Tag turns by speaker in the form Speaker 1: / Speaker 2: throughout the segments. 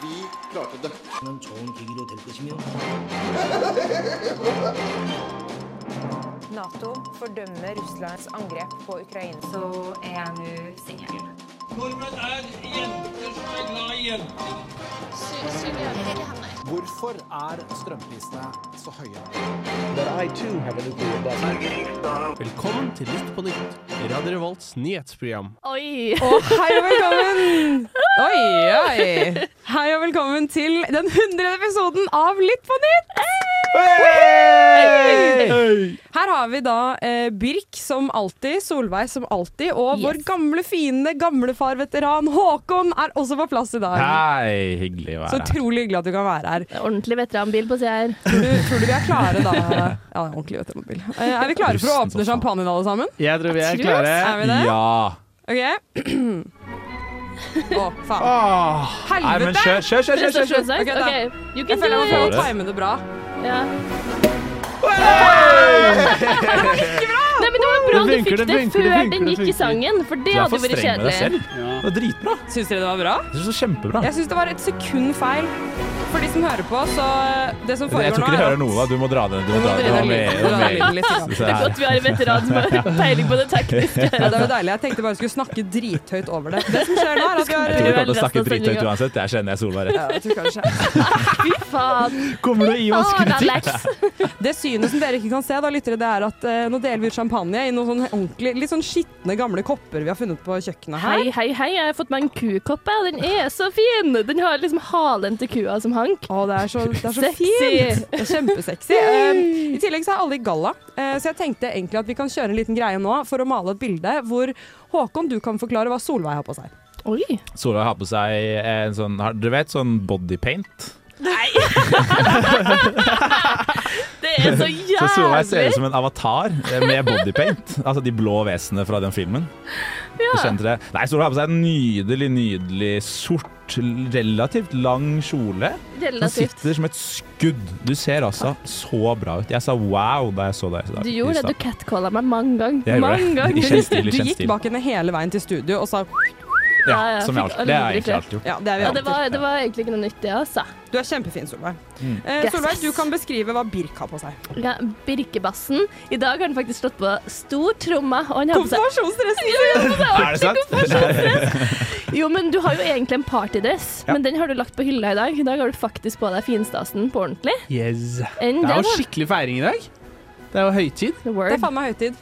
Speaker 1: 필요할 건데.
Speaker 2: 는 좋은 계기로 될 것이며
Speaker 3: Nato fordømmer Russlands angrep på Ukraina.
Speaker 4: så er jeg nå singel.
Speaker 5: Nordmenn er jenter som er glad i jenter.
Speaker 6: Hvorfor er strømprisene så høye?
Speaker 7: Velkommen til Lytt på nytt, Radio Revolts nyhetsprogram.
Speaker 8: Oi!
Speaker 9: Og hei og velkommen! Oi, oi! Hei og velkommen til den hundrede episoden av Litt på nytt! Her har vi da eh, Birk som alltid, Solveig som alltid, og vår gamle fiende, gamlefar-veteran Håkon er også på plass i dag.
Speaker 7: Hei, hyggelig
Speaker 9: Så
Speaker 7: å være her.
Speaker 9: utrolig hyggelig at du kan være her.
Speaker 8: Ordentlig veteranbil på sida her.
Speaker 9: Tror du, tror du vi er klare da? Ja, ordentlig veteranbil. Eh, Er vi klare for å åpne champagnen alle sammen?
Speaker 7: Jeg tror vi er
Speaker 8: Tror du
Speaker 7: klare.
Speaker 9: det? Er vi det?
Speaker 7: Ja.
Speaker 9: OK? Å, faen.
Speaker 7: Åh. Ah. Nei, men
Speaker 9: Helvete!
Speaker 7: kjør, kjør, kjør!
Speaker 8: Tror du
Speaker 7: kjør,
Speaker 8: det
Speaker 7: kjør.
Speaker 8: står seg?
Speaker 9: Ok, da.
Speaker 8: Ok, you
Speaker 9: Jeg
Speaker 8: can
Speaker 9: føler
Speaker 8: do
Speaker 9: jeg må
Speaker 8: it!
Speaker 9: få time det bra.
Speaker 8: Ja. Nei, men det var bra
Speaker 7: Det
Speaker 8: du
Speaker 7: funker,
Speaker 8: fikk
Speaker 7: det
Speaker 8: det
Speaker 7: funker, det
Speaker 8: før
Speaker 7: funker,
Speaker 8: den
Speaker 7: det
Speaker 8: gikk i
Speaker 7: funker.
Speaker 8: sangen, for det
Speaker 7: Du er
Speaker 8: hadde
Speaker 7: for
Speaker 8: vært
Speaker 7: streng med deg
Speaker 8: kjedelig.
Speaker 7: selv. Det var dritbra.
Speaker 9: Syns dere det var bra?
Speaker 7: Det var kjempebra.
Speaker 9: Jeg syns det var et sekund feil. For de som hører på, så eh, Det som foregår
Speaker 7: Jeg tror
Speaker 9: nå,
Speaker 7: ikke de
Speaker 9: er
Speaker 7: hører noe av Du må dra den. Du må
Speaker 9: Du må
Speaker 7: dra den. Du
Speaker 9: dra
Speaker 7: må
Speaker 9: ned
Speaker 7: med-
Speaker 9: lyden-
Speaker 7: du må
Speaker 9: dra ned
Speaker 7: med-
Speaker 9: lyden litt. grann.
Speaker 7: Se
Speaker 8: Det er
Speaker 7: her.
Speaker 8: godt vi har en veteran som har peiling på det tekniske.
Speaker 9: Ja, det er jo deilig. Jeg tenkte bare jeg skulle snakke drithøyt over det. Det som skjer nå, er at vi
Speaker 7: Jeg tror vi
Speaker 9: har
Speaker 7: kommer
Speaker 8: vel
Speaker 7: til å
Speaker 8: resten
Speaker 7: snakke
Speaker 8: av
Speaker 7: drithøyt
Speaker 8: sendingen.
Speaker 7: uansett. Der kjenner jeg Solveig rett.
Speaker 9: ja, jeg tror kanskje.
Speaker 8: Fy faen.
Speaker 7: Kommer du å gi oss
Speaker 8: Faen,
Speaker 7: kritikk?
Speaker 8: Alex.
Speaker 9: Det synet som dere ikke kan se, da, lyttere, det er at eh, nå deler vi ut champagne i noen sånn ordentlig, litt sånn skitne gamle kopper vi har funnet på kjøkkenet her.
Speaker 8: Hei, hei, hei. Jeg har fått meg en kukopp. jeg. Den er så fin! Den har liksom halen til kua som hank.
Speaker 9: Å, det er så, det er så
Speaker 8: Sexy.
Speaker 9: fint! Det er kjempesexy. Um, I tillegg så er alle i galla, eh, så jeg tenkte egentlig at vi kan kjøre en liten greie nå for å male et bilde hvor Håkon, du kan forklare hva Solveig har på seg.
Speaker 8: Oi.
Speaker 7: Solveig har på seg en sånn har- Du vet sånn body paint?
Speaker 8: Det er så
Speaker 7: Så Solveig ser ut
Speaker 8: jævlig.
Speaker 7: som en avatar med body paint. Altså de blå vesenene fra den filmen. Du skjønte det. Nei, Solveig har på seg en nydelig, nydelig sort, relativt lang kjole. Den
Speaker 8: Relativt.
Speaker 7: sitter som et skudd. Du ser altså så bra ut. Jeg sa wow da jeg så deg i dag.
Speaker 8: Du gjorde det. Du catcalla meg mange
Speaker 7: Jeg gjorde
Speaker 8: ganger. Mange
Speaker 7: det. I
Speaker 8: ganger.
Speaker 7: kjent stil, i
Speaker 9: Du
Speaker 7: kjent
Speaker 9: gikk
Speaker 7: stil.
Speaker 9: bak henne hele veien til studio og sa
Speaker 8: Ja,
Speaker 7: Ja,
Speaker 8: jeg
Speaker 7: som jeg
Speaker 8: fikk
Speaker 7: alltid. Det har jeg
Speaker 8: aldri
Speaker 7: egentlig alltid gjort.
Speaker 9: Ja, det er vi
Speaker 8: Ja,
Speaker 9: alltid.
Speaker 8: det var, det var egentlig ikke noe nytt, det, altså.
Speaker 9: Du er kjempefin, Solveig.
Speaker 7: Mm.
Speaker 9: Eh,
Speaker 8: Yes.
Speaker 9: Solveig, du kan beskrive hva Birk har på seg.
Speaker 8: Ja, Birkebassen. I dag har han faktisk slått på stortromma, og han har på seg
Speaker 9: Konfirmasjonsdressen!
Speaker 7: Er det sant?
Speaker 8: Jo, men du har jo egentlig en partydress, men den har du lagt på hylla i dag. I dag har du faktisk på deg finstasen på ordentlig.
Speaker 6: Yes.
Speaker 8: Enn
Speaker 6: Det
Speaker 8: det,
Speaker 6: er jo
Speaker 8: da.
Speaker 6: skikkelig feiring i dag. Det er jo høytid.
Speaker 8: The
Speaker 9: Det er
Speaker 8: word.
Speaker 9: faen meg høytid.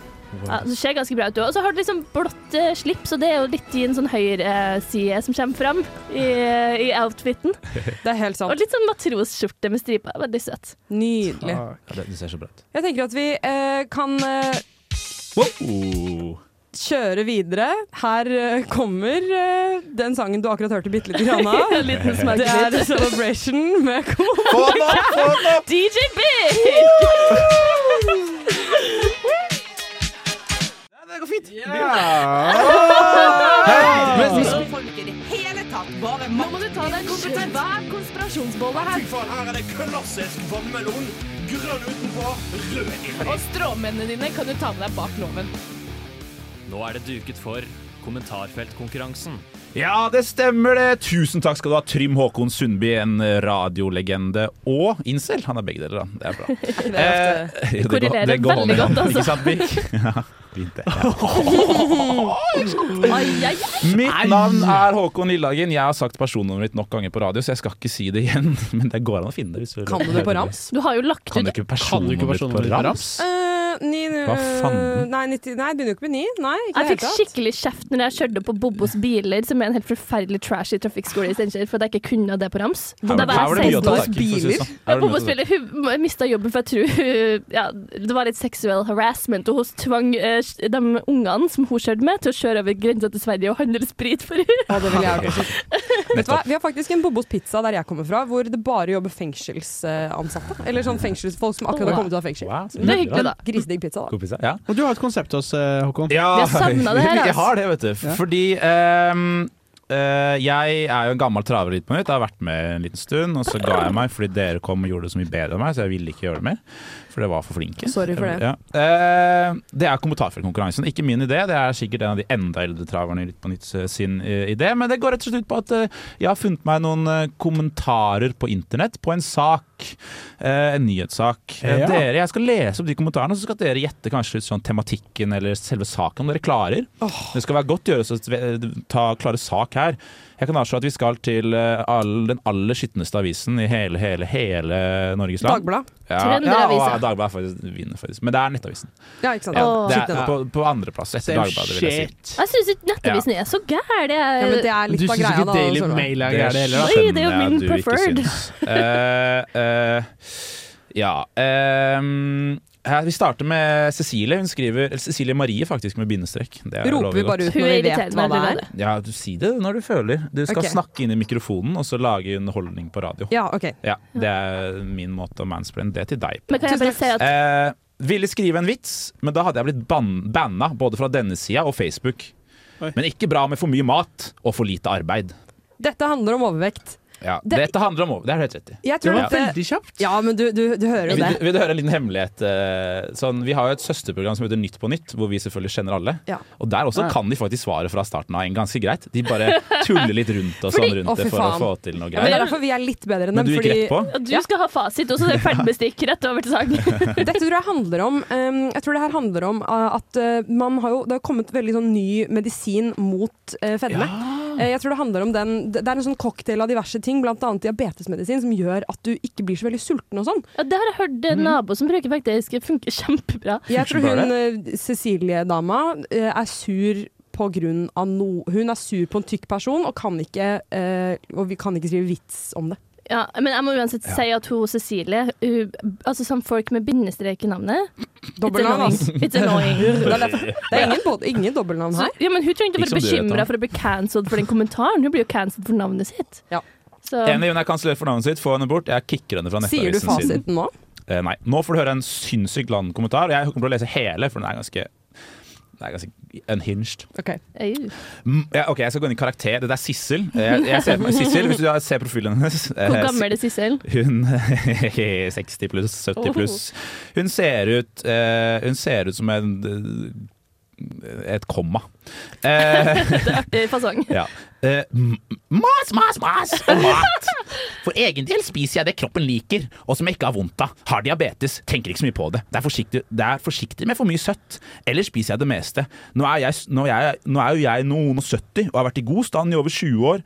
Speaker 8: Ja, det ser ganske bra ut. du. Og så har du liksom blått eh, slips, og det er jo litt din sånn høyreside som kommer fram i, eh, i outfiten.
Speaker 9: Det er helt
Speaker 8: Og
Speaker 9: sant.
Speaker 8: litt sånn matrosskjorte med striper. Veldig søt.
Speaker 9: Nydelig.
Speaker 7: Ja, det- Du ser så bra ut.
Speaker 9: Jeg tenker at vi eh, kan eh,
Speaker 7: Wow.
Speaker 9: kjøre videre. Her eh, kommer eh, den sangen du akkurat hørte bitte lite grann av.
Speaker 8: En
Speaker 9: Det
Speaker 8: liten
Speaker 9: er
Speaker 8: smakebit.
Speaker 9: Celebration med Cool.
Speaker 7: Få den opp, få den opp!
Speaker 8: DJ Big!
Speaker 7: Det går fint.
Speaker 8: Nå må du ta deg en kompetent Hva er konspirasjonsbolla her? her er det klassisk vannmelon. Grønn utenpå, rød inni. Og stråmennene dine kan du ta med deg bak loven.
Speaker 10: Nå er det duket for kommentarfeltkonkurransen.
Speaker 7: Ja, det stemmer det. Tusen takk skal du ha, Trym Håkon Sundby, en radiolegende og incel. Han er begge deler, da. Det er bra. Eh, jo, går-
Speaker 8: korrelerer
Speaker 7: går hånd i
Speaker 8: veldig godt,
Speaker 7: hånd,
Speaker 8: altså.
Speaker 7: Ikke sant, Birk? Ja, fint det. Ja.
Speaker 8: Ai, ai, ai.
Speaker 7: Mitt navn er Håkon Lillehagen. Jeg har sagt personnummeret mitt nok ganger på radio, så jeg skal ikke si det igjen. Men det går an å finne det. Hvis du
Speaker 9: Kan du det på rams?
Speaker 8: Du har jo lagt
Speaker 7: Kan du
Speaker 8: ut
Speaker 7: ikke
Speaker 6: Kan du
Speaker 7: personnummeret
Speaker 6: ikke personnummeret
Speaker 7: på rams?
Speaker 9: Eh, ni,
Speaker 7: Hva faen?
Speaker 9: Nei, 90, nei, begynner jo ikke med ni. Nei, ikke i det
Speaker 8: jeg fikk
Speaker 9: hele tatt.
Speaker 8: skikkelig kjeft når jeg kjørte på Bobbos biler, som er en helt forferdelig trashy trafikkskole i Steinkjer, for at jeg ikke kunne det på rams.
Speaker 7: Her var-
Speaker 8: Da
Speaker 7: her var
Speaker 8: var
Speaker 7: det
Speaker 8: jeg
Speaker 7: mye å
Speaker 8: 16
Speaker 7: ta
Speaker 8: år.
Speaker 7: tak i, for å si det sånn. Her var det mye å ta tak i.
Speaker 8: Bobbos biler hun mista jobben, for jeg tror hun, ja, det var litt seksuell harassment, og hun tvang eh, de ungene som hun kjørte med, til å kjøre over grensa til Sverige og handle sprit for henne.
Speaker 9: Å, det vil jeg gjøre. Vet du hva? Vi har faktisk en Bobbos pizza der jeg kommer fra, hvor det bare jobber fengselsansatte. Eller sånn fengselsfolk som akkurat har kommet ut av fengsel.
Speaker 7: Wow, så
Speaker 8: Det er
Speaker 7: bra.
Speaker 8: hyggelig, da.
Speaker 9: Grisedigg pizza, da.
Speaker 7: God pizza, Ja.
Speaker 6: Og du har et konsept hos oss, eh, Håkon.
Speaker 7: Ja,
Speaker 8: Vi har savnet det her, altså.
Speaker 7: Jeg har det, vet du. Fordi ehm, eh, jeg er jo en gammel traver litt på nytt. Jeg har vært med en liten stund, og så ga jeg meg fordi dere kom og gjorde det så mye bedre enn meg, så jeg ville ikke gjøre det mer. For dere var for flinke.
Speaker 9: Sorry for det.
Speaker 7: Ja. Eh, det er kommentarfeltkonkurransen. Ikke min idé, det er sikkert en av de enda eldre traverne i Litt på nytt sin eh, idé. Men det går rett og slett ut på at eh, jeg har funnet meg noen eh, kommentarer på internett på en sak. Eh, en nyhetssak. Eh,
Speaker 6: Ja.
Speaker 7: Dere, jeg skal lese opp de kommentarene, så skal dere gjette kanskje ut sånn tematikken eller selve saken, om dere klarer. Det skal være godt gjøres å sve- ta klare sak her. Jeg kan avslå at vi skal til eh, all, den aller skitneste avisen i hele, hele, hele Norges land.
Speaker 9: Dagbladet.
Speaker 7: Ja,
Speaker 8: Trønderavisa.
Speaker 7: Ja, og Dagbladet er faktisk, vinner faktisk. Men det er Nettavisen.
Speaker 9: Ja, ikke sant.
Speaker 7: Ja,
Speaker 8: Åh.
Speaker 7: det
Speaker 9: Shit,
Speaker 7: er
Speaker 9: den
Speaker 7: på, på andreplass etter
Speaker 6: Same
Speaker 7: Dagbladet, vil jeg si.
Speaker 6: shit.
Speaker 8: Jeg syns ikke Nettavisen er så gæren. Det er,
Speaker 9: Ja, men det er
Speaker 6: Du
Speaker 9: litt
Speaker 6: syns
Speaker 9: av greia,
Speaker 6: ikke
Speaker 9: da. altså.
Speaker 6: Daily
Speaker 9: Solveig.
Speaker 6: Mail er gæren heller,
Speaker 8: Oi, det
Speaker 6: da?
Speaker 8: er jo
Speaker 7: skjønner jeg at
Speaker 8: min
Speaker 7: du ikke
Speaker 8: preferred.
Speaker 7: syns. Eh, eh, ja ehm, her, Vi starter med Cecilie. Hun skriver eller Cecilie Marie, faktisk, med bindestrek. Det er-
Speaker 9: Roper
Speaker 7: lover
Speaker 9: vi bare
Speaker 7: godt.
Speaker 9: ut når vi vet hva det er?
Speaker 7: Ja, du Si det når du føler. Du skal
Speaker 9: Ok.
Speaker 7: snakke inn i mikrofonen og så lage underholdning på radio.
Speaker 9: Ja, OK.
Speaker 7: Ja, Det er min måte å mansplaine det er til deg på.
Speaker 8: Men kan jeg bare si at
Speaker 7: Eh, ville skrive en vits, men da hadde jeg blitt ban banna både fra denne sida og Facebook.
Speaker 6: Oi.
Speaker 7: Men ikke bra med for mye mat og for lite arbeid.
Speaker 9: Dette handler om overvekt.
Speaker 7: Ja,
Speaker 9: Det-
Speaker 7: Dette handler om over- Det er du helt rett i.
Speaker 9: Jeg tror
Speaker 6: Det var
Speaker 9: at det,
Speaker 6: veldig kjapt.
Speaker 9: Ja, men du, du, du hører jo
Speaker 7: Vil,
Speaker 9: det.
Speaker 7: du- vil du høre en liten hemmelighet? eh, Sånn, vi har jo et søsterprogram som heter Nytt på nytt, hvor vi selvfølgelig kjenner alle.
Speaker 9: Ja.
Speaker 7: Og der også
Speaker 6: Ja.
Speaker 7: kan de faktisk svaret fra starten av en ganske greit. De bare tuller litt rundt og sånn
Speaker 9: Fordi-
Speaker 7: rundt
Speaker 9: Å,
Speaker 7: det
Speaker 9: fy
Speaker 7: for å
Speaker 9: faen.
Speaker 7: få til noe
Speaker 9: Ja, men det
Speaker 7: greier.
Speaker 9: er derfor vi er litt bedre enn dem.
Speaker 7: Men du gikk
Speaker 9: fordi
Speaker 7: rett på?
Speaker 8: du skal ha fasit, og så er det ferdigbestikk rett over til saken.
Speaker 9: Dette tror jeg handler om um, Jeg tror det her handler om uh, at uh, man har jo Det har kommet veldig sånn ny medisin mot uh, fedme. Eh, Jeg tror Det handler om den Det det er en sånn cocktail av diverse ting, bl.a. diabetesmedisin, som gjør at du ikke blir så veldig sulten og sånn.
Speaker 8: Ja, det har jeg hørt en nabo som bruker faktisk. Det funker kjempebra.
Speaker 9: Jeg tror
Speaker 7: Funker
Speaker 9: hun eh, Cecilie-dama eh, er sur på grunn av no... Hun er sur på en tykk person og kan ikke, eh, og vi kan ikke skrive vits om det.
Speaker 8: Ja, men jeg må uansett si at hun Cecilie hun, Altså som folk med bindestrek i navnet It's
Speaker 9: Dobbeltnavn,
Speaker 8: annoying.
Speaker 9: altså.
Speaker 8: It's annoying.
Speaker 9: Det er, derfor- det er ingen, bod- ingen dobbeltnavn
Speaker 8: Så,
Speaker 9: her.
Speaker 8: ja, men hun trenger ikke å
Speaker 7: Ikke som du
Speaker 8: være
Speaker 7: vet, da.
Speaker 8: bekymra for å bli cancelled for den kommentaren. Hun blir jo cancelled for navnet sitt.
Speaker 9: Ja.
Speaker 8: Så
Speaker 7: Enig, hun er kansellert for navnet sitt. Få henne bort. Jeg kicker henne fra
Speaker 9: Sier du
Speaker 7: nettavisen sin.
Speaker 9: fasiten nå?
Speaker 7: Eh, nei. Nå får du høre en sinnssykt lang kommentar, og jeg kommer til å lese hele, for den er ganske, den er ganske unhinged.
Speaker 9: Ok.
Speaker 8: Au.
Speaker 7: Mm, ja, ok, Jeg skal gå inn i karakter. Dette er Sissel. Jeg, jeg ser, for meg- Sissel, Hvis du da ser profilen hennes
Speaker 8: Hvor
Speaker 7: eh,
Speaker 8: gammel er Sissel?
Speaker 7: Hun 60 pluss, 70 pluss. Hun ser ut, eh, hun ser ut som en, et komma. Eh,
Speaker 8: Artig fasong.
Speaker 7: ja. Eh, m- mas, mas, mas og mat. For egen del spiser jeg det kroppen liker, og som jeg ikke har vondt av. Har diabetes, tenker ikke så mye på det. Det er forsiktig, det er forsiktig med for mye søtt. Ellers spiser jeg det meste. Nå er, jeg, nå, er jeg, nå er jo jeg noen og 70 og har vært i god stand i over 20 år.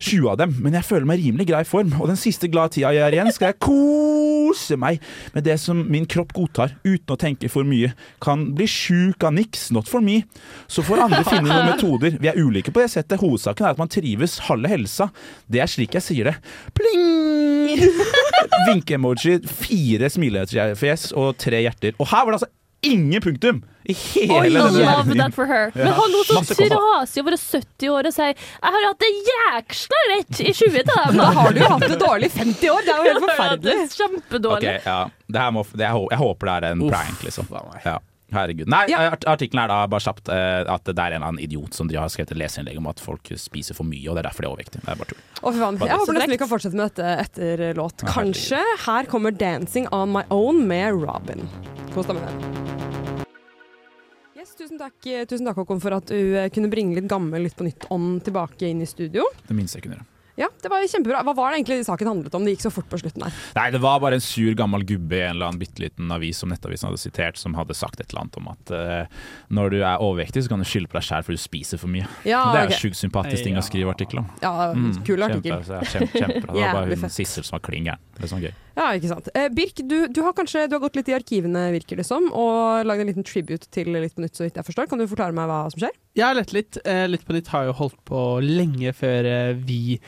Speaker 7: 20 av dem, men jeg føler meg rimelig grei i form, og den siste glade tida jeg er igjen, skal jeg kose meg med det som min kropp godtar, uten å tenke for mye. Kan bli sjuk av niks, not for me. Så får andre finne noen metoder. Vi er ulike på det settet. Hovedsaken er at man trives, halve helsa. Det er slik jeg sier det. Pling! Vinke-emoji, fire smilefjes og tre hjerter. Og her var det altså ingen punktum i hele
Speaker 8: I
Speaker 7: denne
Speaker 8: love
Speaker 7: meldingen.
Speaker 8: that for her. Men hallo, så
Speaker 7: Masse komma.
Speaker 8: trasig å være 70 år og si 'jeg har hatt det jæksla rett i 20 av dem'.
Speaker 9: Da har du jo hatt det dårlig i 50 år! Det er jo helt forferdelig.
Speaker 7: Ok,
Speaker 8: Kjempedårlig.
Speaker 7: ja. det her må, det, jeg, hå- jeg håper det er en prank, liksom. Ja. Herregud. Nei,
Speaker 9: Ja.
Speaker 7: art artikkelen er da bare kjapt eh, at det er en eller annen idiot som de har skrevet et leserinnlegg om at folk spiser for mye, og det er derfor de er overvektige. Det er bare tull.
Speaker 9: Å, fy faen. Jeg håper nesten vi kan fortsette med dette etter eh, låt. Kanskje. Her kommer 'Dancing On My Own' med Robin. Kos deg med det. Yes, tusen takk, eh, tusen takk Håkon, for at du eh, kunne bringe litt gammel Lytt på nytt-ånd tilbake inn i studio.
Speaker 7: Det minste jeg kunne gjøre.
Speaker 9: Ja, det var jo kjempebra. Hva var det egentlig saken handlet om? Det gikk så fort på slutten her.
Speaker 7: Nei, det var bare en sur gammel gubbe i en eller annen bitte liten avis som Nettavisen hadde sitert, som hadde sagt et eller annet om at eh, når du er overvektig, så kan du skylde på deg sjæl for du spiser for mye.
Speaker 9: Ja,
Speaker 7: det er jo
Speaker 9: Ah, ok.
Speaker 7: sjukt sympatisk ting
Speaker 6: Ja.
Speaker 7: å skrive artikkel om.
Speaker 9: ja
Speaker 7: Mm,
Speaker 9: Kul
Speaker 7: kjempe-
Speaker 9: artikkel.
Speaker 7: ja, kjempe- kjempebra. Det var
Speaker 9: Jævlig
Speaker 7: bare hun
Speaker 9: fett.
Speaker 7: Sissel som var klin gæren. Det er sånn gøy.
Speaker 9: Ja, ikke sant. Eh, Birk, du, du har kanskje du har gått litt i arkivene, virker det som, og lagd en liten tribute til Litt på nytt, så vidt jeg forstår. Kan du forklare meg hva som skjer?
Speaker 6: Jeg har lett litt. Eh, Litt på nytt har jo holdt på lenge før eh, vi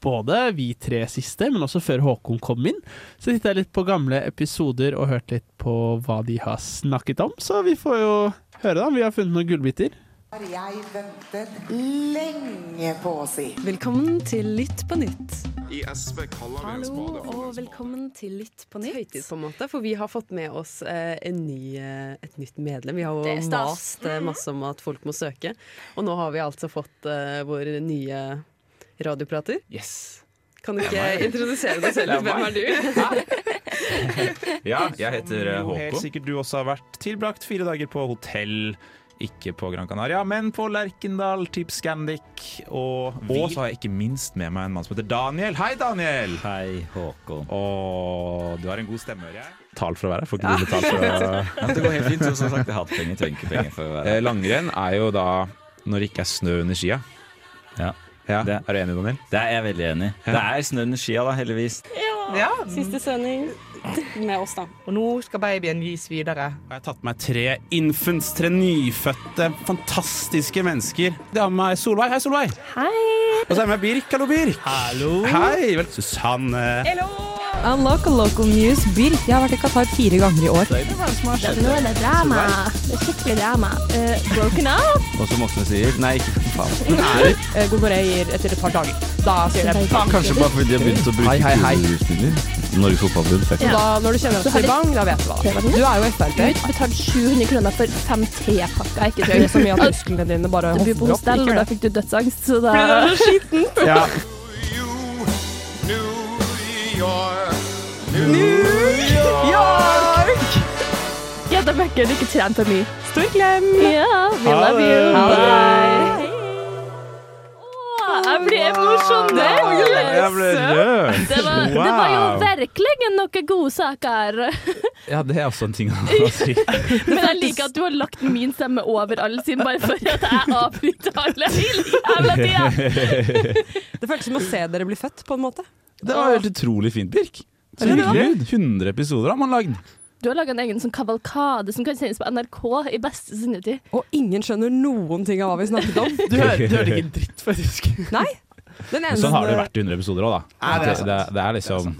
Speaker 6: både vi tre siste, men også før Håkon kom inn. Så titta jeg litt på gamle episoder og hørte litt på hva de har snakket om. Så vi får jo høre, da. om Vi har funnet noen gullbiter.
Speaker 1: Jeg ventet lenge på å si.
Speaker 11: Velkommen til Lytt på nytt.
Speaker 1: I SV kaller vi en spade for en spade.
Speaker 8: til Lytt på
Speaker 11: Høytid, på en måte, for vi har fått med oss eh, en ny, eh, et nytt medlem. Vi har
Speaker 8: Det er
Speaker 11: jo
Speaker 8: stas.
Speaker 11: mast
Speaker 9: Mm-hmm.
Speaker 11: eh, masse om at folk må søke, og nå har vi altså fått eh, vår nye radioprater.
Speaker 7: Yes.
Speaker 11: Kan du ikke introdusere deg selv?
Speaker 7: Det er
Speaker 11: litt? Hvem er du?
Speaker 7: Ja, jeg heter eh,
Speaker 1: Som jo helt
Speaker 7: Håkon. sikkert du også har vært tilbrakt fire dager på hotell. Ikke på Gran Canaria, men på Lerkendal, Tip Scandic og Og så har jeg ikke minst med meg en mann som heter Daniel. Hei, Daniel!
Speaker 10: Hei, Håkon.
Speaker 7: Å, du har en god stemme, hører jeg. Tal for å være her. Får ikke du betalt
Speaker 10: Ja, det går helt fint. så Som sagt, jeg har hatt penger, trenger ikke penger for å være her.
Speaker 7: Eh, Langrenn er jo da når det ikke er snø under skia.
Speaker 10: Ja.
Speaker 7: Ja,
Speaker 10: Det-
Speaker 7: Er du enig, Daniel?
Speaker 10: Det er jeg veldig enig i. Det er snø under skia, da, heldigvis.
Speaker 9: Siste sending med oss, da.
Speaker 11: Og nå skal babyen gis videre.
Speaker 7: Jeg har tatt med meg tre infants, tre nyfødte, fantastiske mennesker. Det har med meg Solveig. Hei, Solveig.
Speaker 8: Hei!
Speaker 7: Og så er det med meg Birk. Hallo, Birk. Hallo. Hei. Vel, Susanne.
Speaker 9: Unlocal local news, Birk. Jeg har vært i Qatar fire ganger i år.
Speaker 8: Nå er det drama. Det er skikkelig drama. Eh, broken out?
Speaker 10: Og som Åsne sier Nei, ikke faen.
Speaker 9: Gonoré Eh, gir etter et par dager. Da sier det bang.
Speaker 10: Kanskje bare fordi de har begynt å bruke rusmidler. Norges Fotballforbund, fuck.
Speaker 9: Så da, når du kjenner at det sier bang, da vet du hva. Du er jo Frp.
Speaker 8: Ut betalt 700 kroner for fem tepakker. Ikke
Speaker 9: Det er
Speaker 8: drøyt.
Speaker 9: så mye at musklene dine bare
Speaker 8: Du
Speaker 9: hopper opp.
Speaker 8: bor på hostell, og da fikk du dødsangst, så da
Speaker 7: Ja.
Speaker 1: New York.
Speaker 8: Ja, da merker du ikke trent for mye.
Speaker 9: Stor klem!
Speaker 8: Ja, we
Speaker 7: Ha
Speaker 8: love
Speaker 7: det.
Speaker 8: you.
Speaker 7: Ha det.
Speaker 8: Bye. Åh, Jeg ble emosjonell!
Speaker 7: Jeg ble rød.
Speaker 8: Det var, det var jo
Speaker 7: Wow.
Speaker 8: virkelig noen gode saker.
Speaker 7: Ja, det er også en ting å si.
Speaker 8: Men jeg liker at du har lagt min stemme over alle sine, bare for at jeg avbryter alle hele jævla tida.
Speaker 9: Det føltes som å se dere bli født, på en måte.
Speaker 7: Det var helt utrolig fint, Birk. Så
Speaker 8: Ja, det var.
Speaker 7: hyggelig. 100 episoder har man lagd.
Speaker 8: Du har laga en egen sånn kavalkade som kan sendes på NRK i beste sendetid.
Speaker 9: Og ingen skjønner noen ting av hva vi snakket om.
Speaker 6: Du hører, du hører ikke en dritt, faktisk.
Speaker 9: Nei. Den eneste,
Speaker 7: Sånn har det jo vært i 100 episoder òg, da.
Speaker 1: Ja, det er
Speaker 7: At det, det er liksom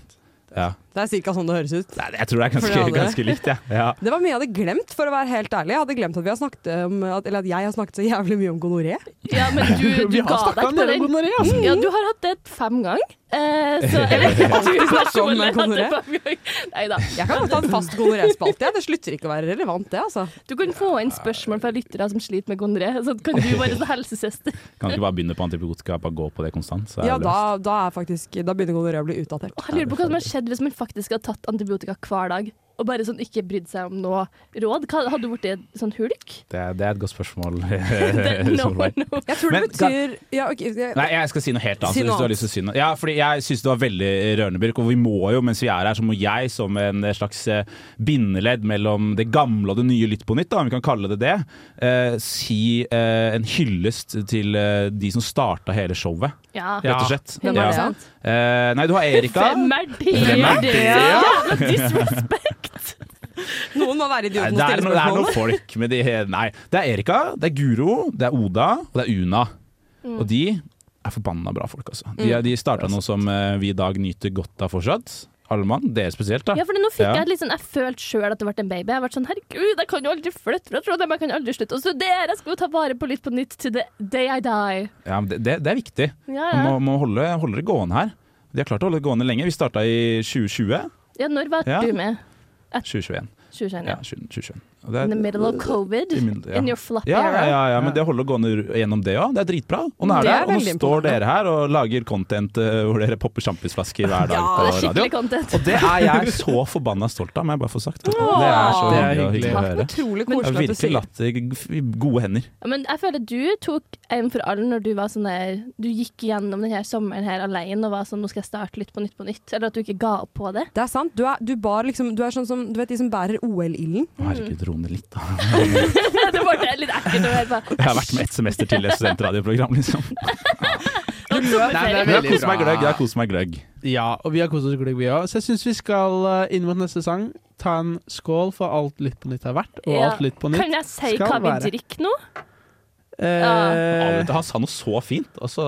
Speaker 7: ja.
Speaker 9: Det er cirka sånn det høres ut.
Speaker 7: Nei, Jeg tror det er
Speaker 9: For det
Speaker 7: ganske,
Speaker 9: alle.
Speaker 7: ganske likt, jeg. Ja.
Speaker 9: Det var mye jeg hadde glemt, for å være helt ærlig. Jeg hadde glemt at, vi har snakket om, at, eller at jeg har snakket så jævlig mye om gonoré.
Speaker 8: Ja, men du, du
Speaker 6: Vi har
Speaker 8: ga deg ikke
Speaker 6: snakka en
Speaker 8: på
Speaker 6: del
Speaker 8: den.
Speaker 6: om gonoré, altså.
Speaker 8: Ja, du har hatt det fem ganger. Eh, så jeg vet ikke om du personlig har hatt det fem ganger. Nei da.
Speaker 9: Jeg kan godt ha en fast gonoré-spalte. jeg. Det slutter ikke å være relevant, det, altså.
Speaker 8: Du kan få inn spørsmål fra lyttere som sliter med gonoré. Så kan du være sånn helsesøster.
Speaker 7: Kan ikke bare begynne på antibiotika, bare gå på det konstant. Så er
Speaker 9: Ja,
Speaker 7: det
Speaker 9: da, da, er faktisk, da begynner gonoré å bli utdatert.
Speaker 8: Og jeg lurer på hva som hadde skjedd hvis man faktisk hadde tatt antibiotika hver dag. Og bare sånn ikke brydd seg om noe råd. Hva- Hadde du blitt sånn hulk?
Speaker 7: Det, er- det er et godt spørsmål.
Speaker 8: No,
Speaker 7: Solveig.
Speaker 8: no.
Speaker 9: Jeg tror det
Speaker 7: Men kan-
Speaker 9: betyr ja, ok, jeg,
Speaker 7: Nei, jeg skal si noe helt annet.
Speaker 9: Si noe
Speaker 7: hvis du har
Speaker 9: annet.
Speaker 7: lyst til å si noe. Ja, fordi jeg syns det var veldig eh, rørende, Birk. Og vi må jo, mens vi er her, så må jeg som en slags eh, bindeledd mellom det gamle og det nye Lytt på nytt, da, om vi kan kalle det det, eh, si eh, en hyllest til eh, de som starta hele showet,
Speaker 8: Ja.
Speaker 7: rett og slett.
Speaker 9: Hvem er det?
Speaker 7: Ja. Eh, nei, du har Erika.
Speaker 8: Hvem er det?
Speaker 7: Hvem er det?
Speaker 8: Jævla disrespect!
Speaker 9: Noen må være
Speaker 7: Nei,
Speaker 9: idioten og
Speaker 7: det er,
Speaker 9: stille
Speaker 7: noe, det er noen
Speaker 9: spørsmålene.
Speaker 7: folk med de Nei. Det er Erika, det er Guro, det er Oda og det er Una. Og de er forbanna bra folk, altså. De, de starta noe som eh, vi i dag nyter godt av fortsatt. Alle mann, dere spesielt, da.
Speaker 8: Ja, for nå fikk
Speaker 7: Ja.
Speaker 8: jeg litt sånn Jeg følte sjøl at det ble en baby. Jeg ble sånn Herregud, jeg kan jo aldri flytte fra Trondheim, jeg kan aldri slutte å studere, jeg skal jo ta vare på litt på nytt til the day I die.
Speaker 7: Ja, men det, det, det er viktig.
Speaker 8: Ja,
Speaker 7: Man
Speaker 8: ja.
Speaker 7: må, må holde, holde det gående her. De har klart å holde det gående lenge. Vi starta i 2020.
Speaker 8: ja når var
Speaker 7: Ja.
Speaker 8: du med?
Speaker 7: 2021.
Speaker 8: 2021,
Speaker 7: Ja,
Speaker 8: ja.
Speaker 7: 20, 2021. Og det er-
Speaker 8: In the middle of covid.
Speaker 7: I middel- ja.
Speaker 8: In your flop
Speaker 7: Ja, ja,
Speaker 8: era.
Speaker 7: ja, ja, men det holder å gå ned gjennom det òg. Det er dritbra. Og nå, er
Speaker 9: Det
Speaker 7: det,
Speaker 9: er
Speaker 7: og nå
Speaker 9: veldig
Speaker 7: står
Speaker 9: imponerende.
Speaker 7: dere her og lager content eh, hvor dere popper sjampisflasker hver dag
Speaker 9: Ja,
Speaker 7: på
Speaker 8: Det
Speaker 7: radio.
Speaker 8: er skikkelig content.
Speaker 7: Og det er jeg så forbanna stolt av, må jeg bare få sagt. Det er så
Speaker 6: Det er
Speaker 7: hyggelig og
Speaker 6: hyggelig.
Speaker 7: hyggelig å høre.
Speaker 9: Utrolig
Speaker 7: Jeg har
Speaker 9: koselig at du
Speaker 7: virkelig
Speaker 9: sier
Speaker 7: latt det g- i gode hender.
Speaker 8: Ja, Men jeg føler du tok en for alle når du var sånn der Du gikk gjennom denne sommeren her alene og var sånn Nå skal jeg starte litt på nytt på nytt. Eller at du ikke ga opp på det.
Speaker 9: det. er sant. Du er, du bar liksom, du er sånn som du vet, de som bærer OL-ilden.
Speaker 7: Herregud, ro ned litt, da.
Speaker 8: det ble litt ekkelt å høre på.
Speaker 7: Jeg har vært med ett semester til et studentradioprogram, liksom.
Speaker 8: Sånn Sommerferie.
Speaker 7: Men jeg har kost meg gløgg. Jeg har kost meg gløgg.
Speaker 6: Ja, og vi har kost oss glugg, vi òg. Så jeg syns vi skal eh, inn mot neste sang ta en skål for alt Lytt på nytt har vært, og
Speaker 8: Ja.
Speaker 6: alt Lytt på
Speaker 8: Kan
Speaker 6: nytt.
Speaker 8: jeg si
Speaker 6: skal
Speaker 8: hva vi
Speaker 6: være.
Speaker 8: drikker nå?
Speaker 6: Eh,
Speaker 7: Avbryter, Han sa noe så fint, og så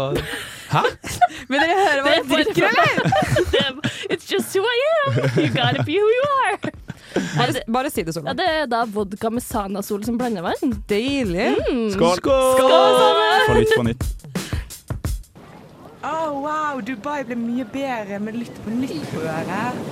Speaker 9: Vil dere høre hva
Speaker 8: Det
Speaker 9: jeg drikker, eller?
Speaker 8: It's just who I am. You gotta be who you are. Er det,
Speaker 9: Bare si det,
Speaker 8: ja,
Speaker 9: Solveig.
Speaker 8: det er da vodka med Sanasol som blandevann.
Speaker 9: Deilig.
Speaker 7: Skål! Skål! For litt på nytt.
Speaker 11: Oh,
Speaker 12: Wow, wow, Dubai ble mye bedre med Lytt på nytt på øret.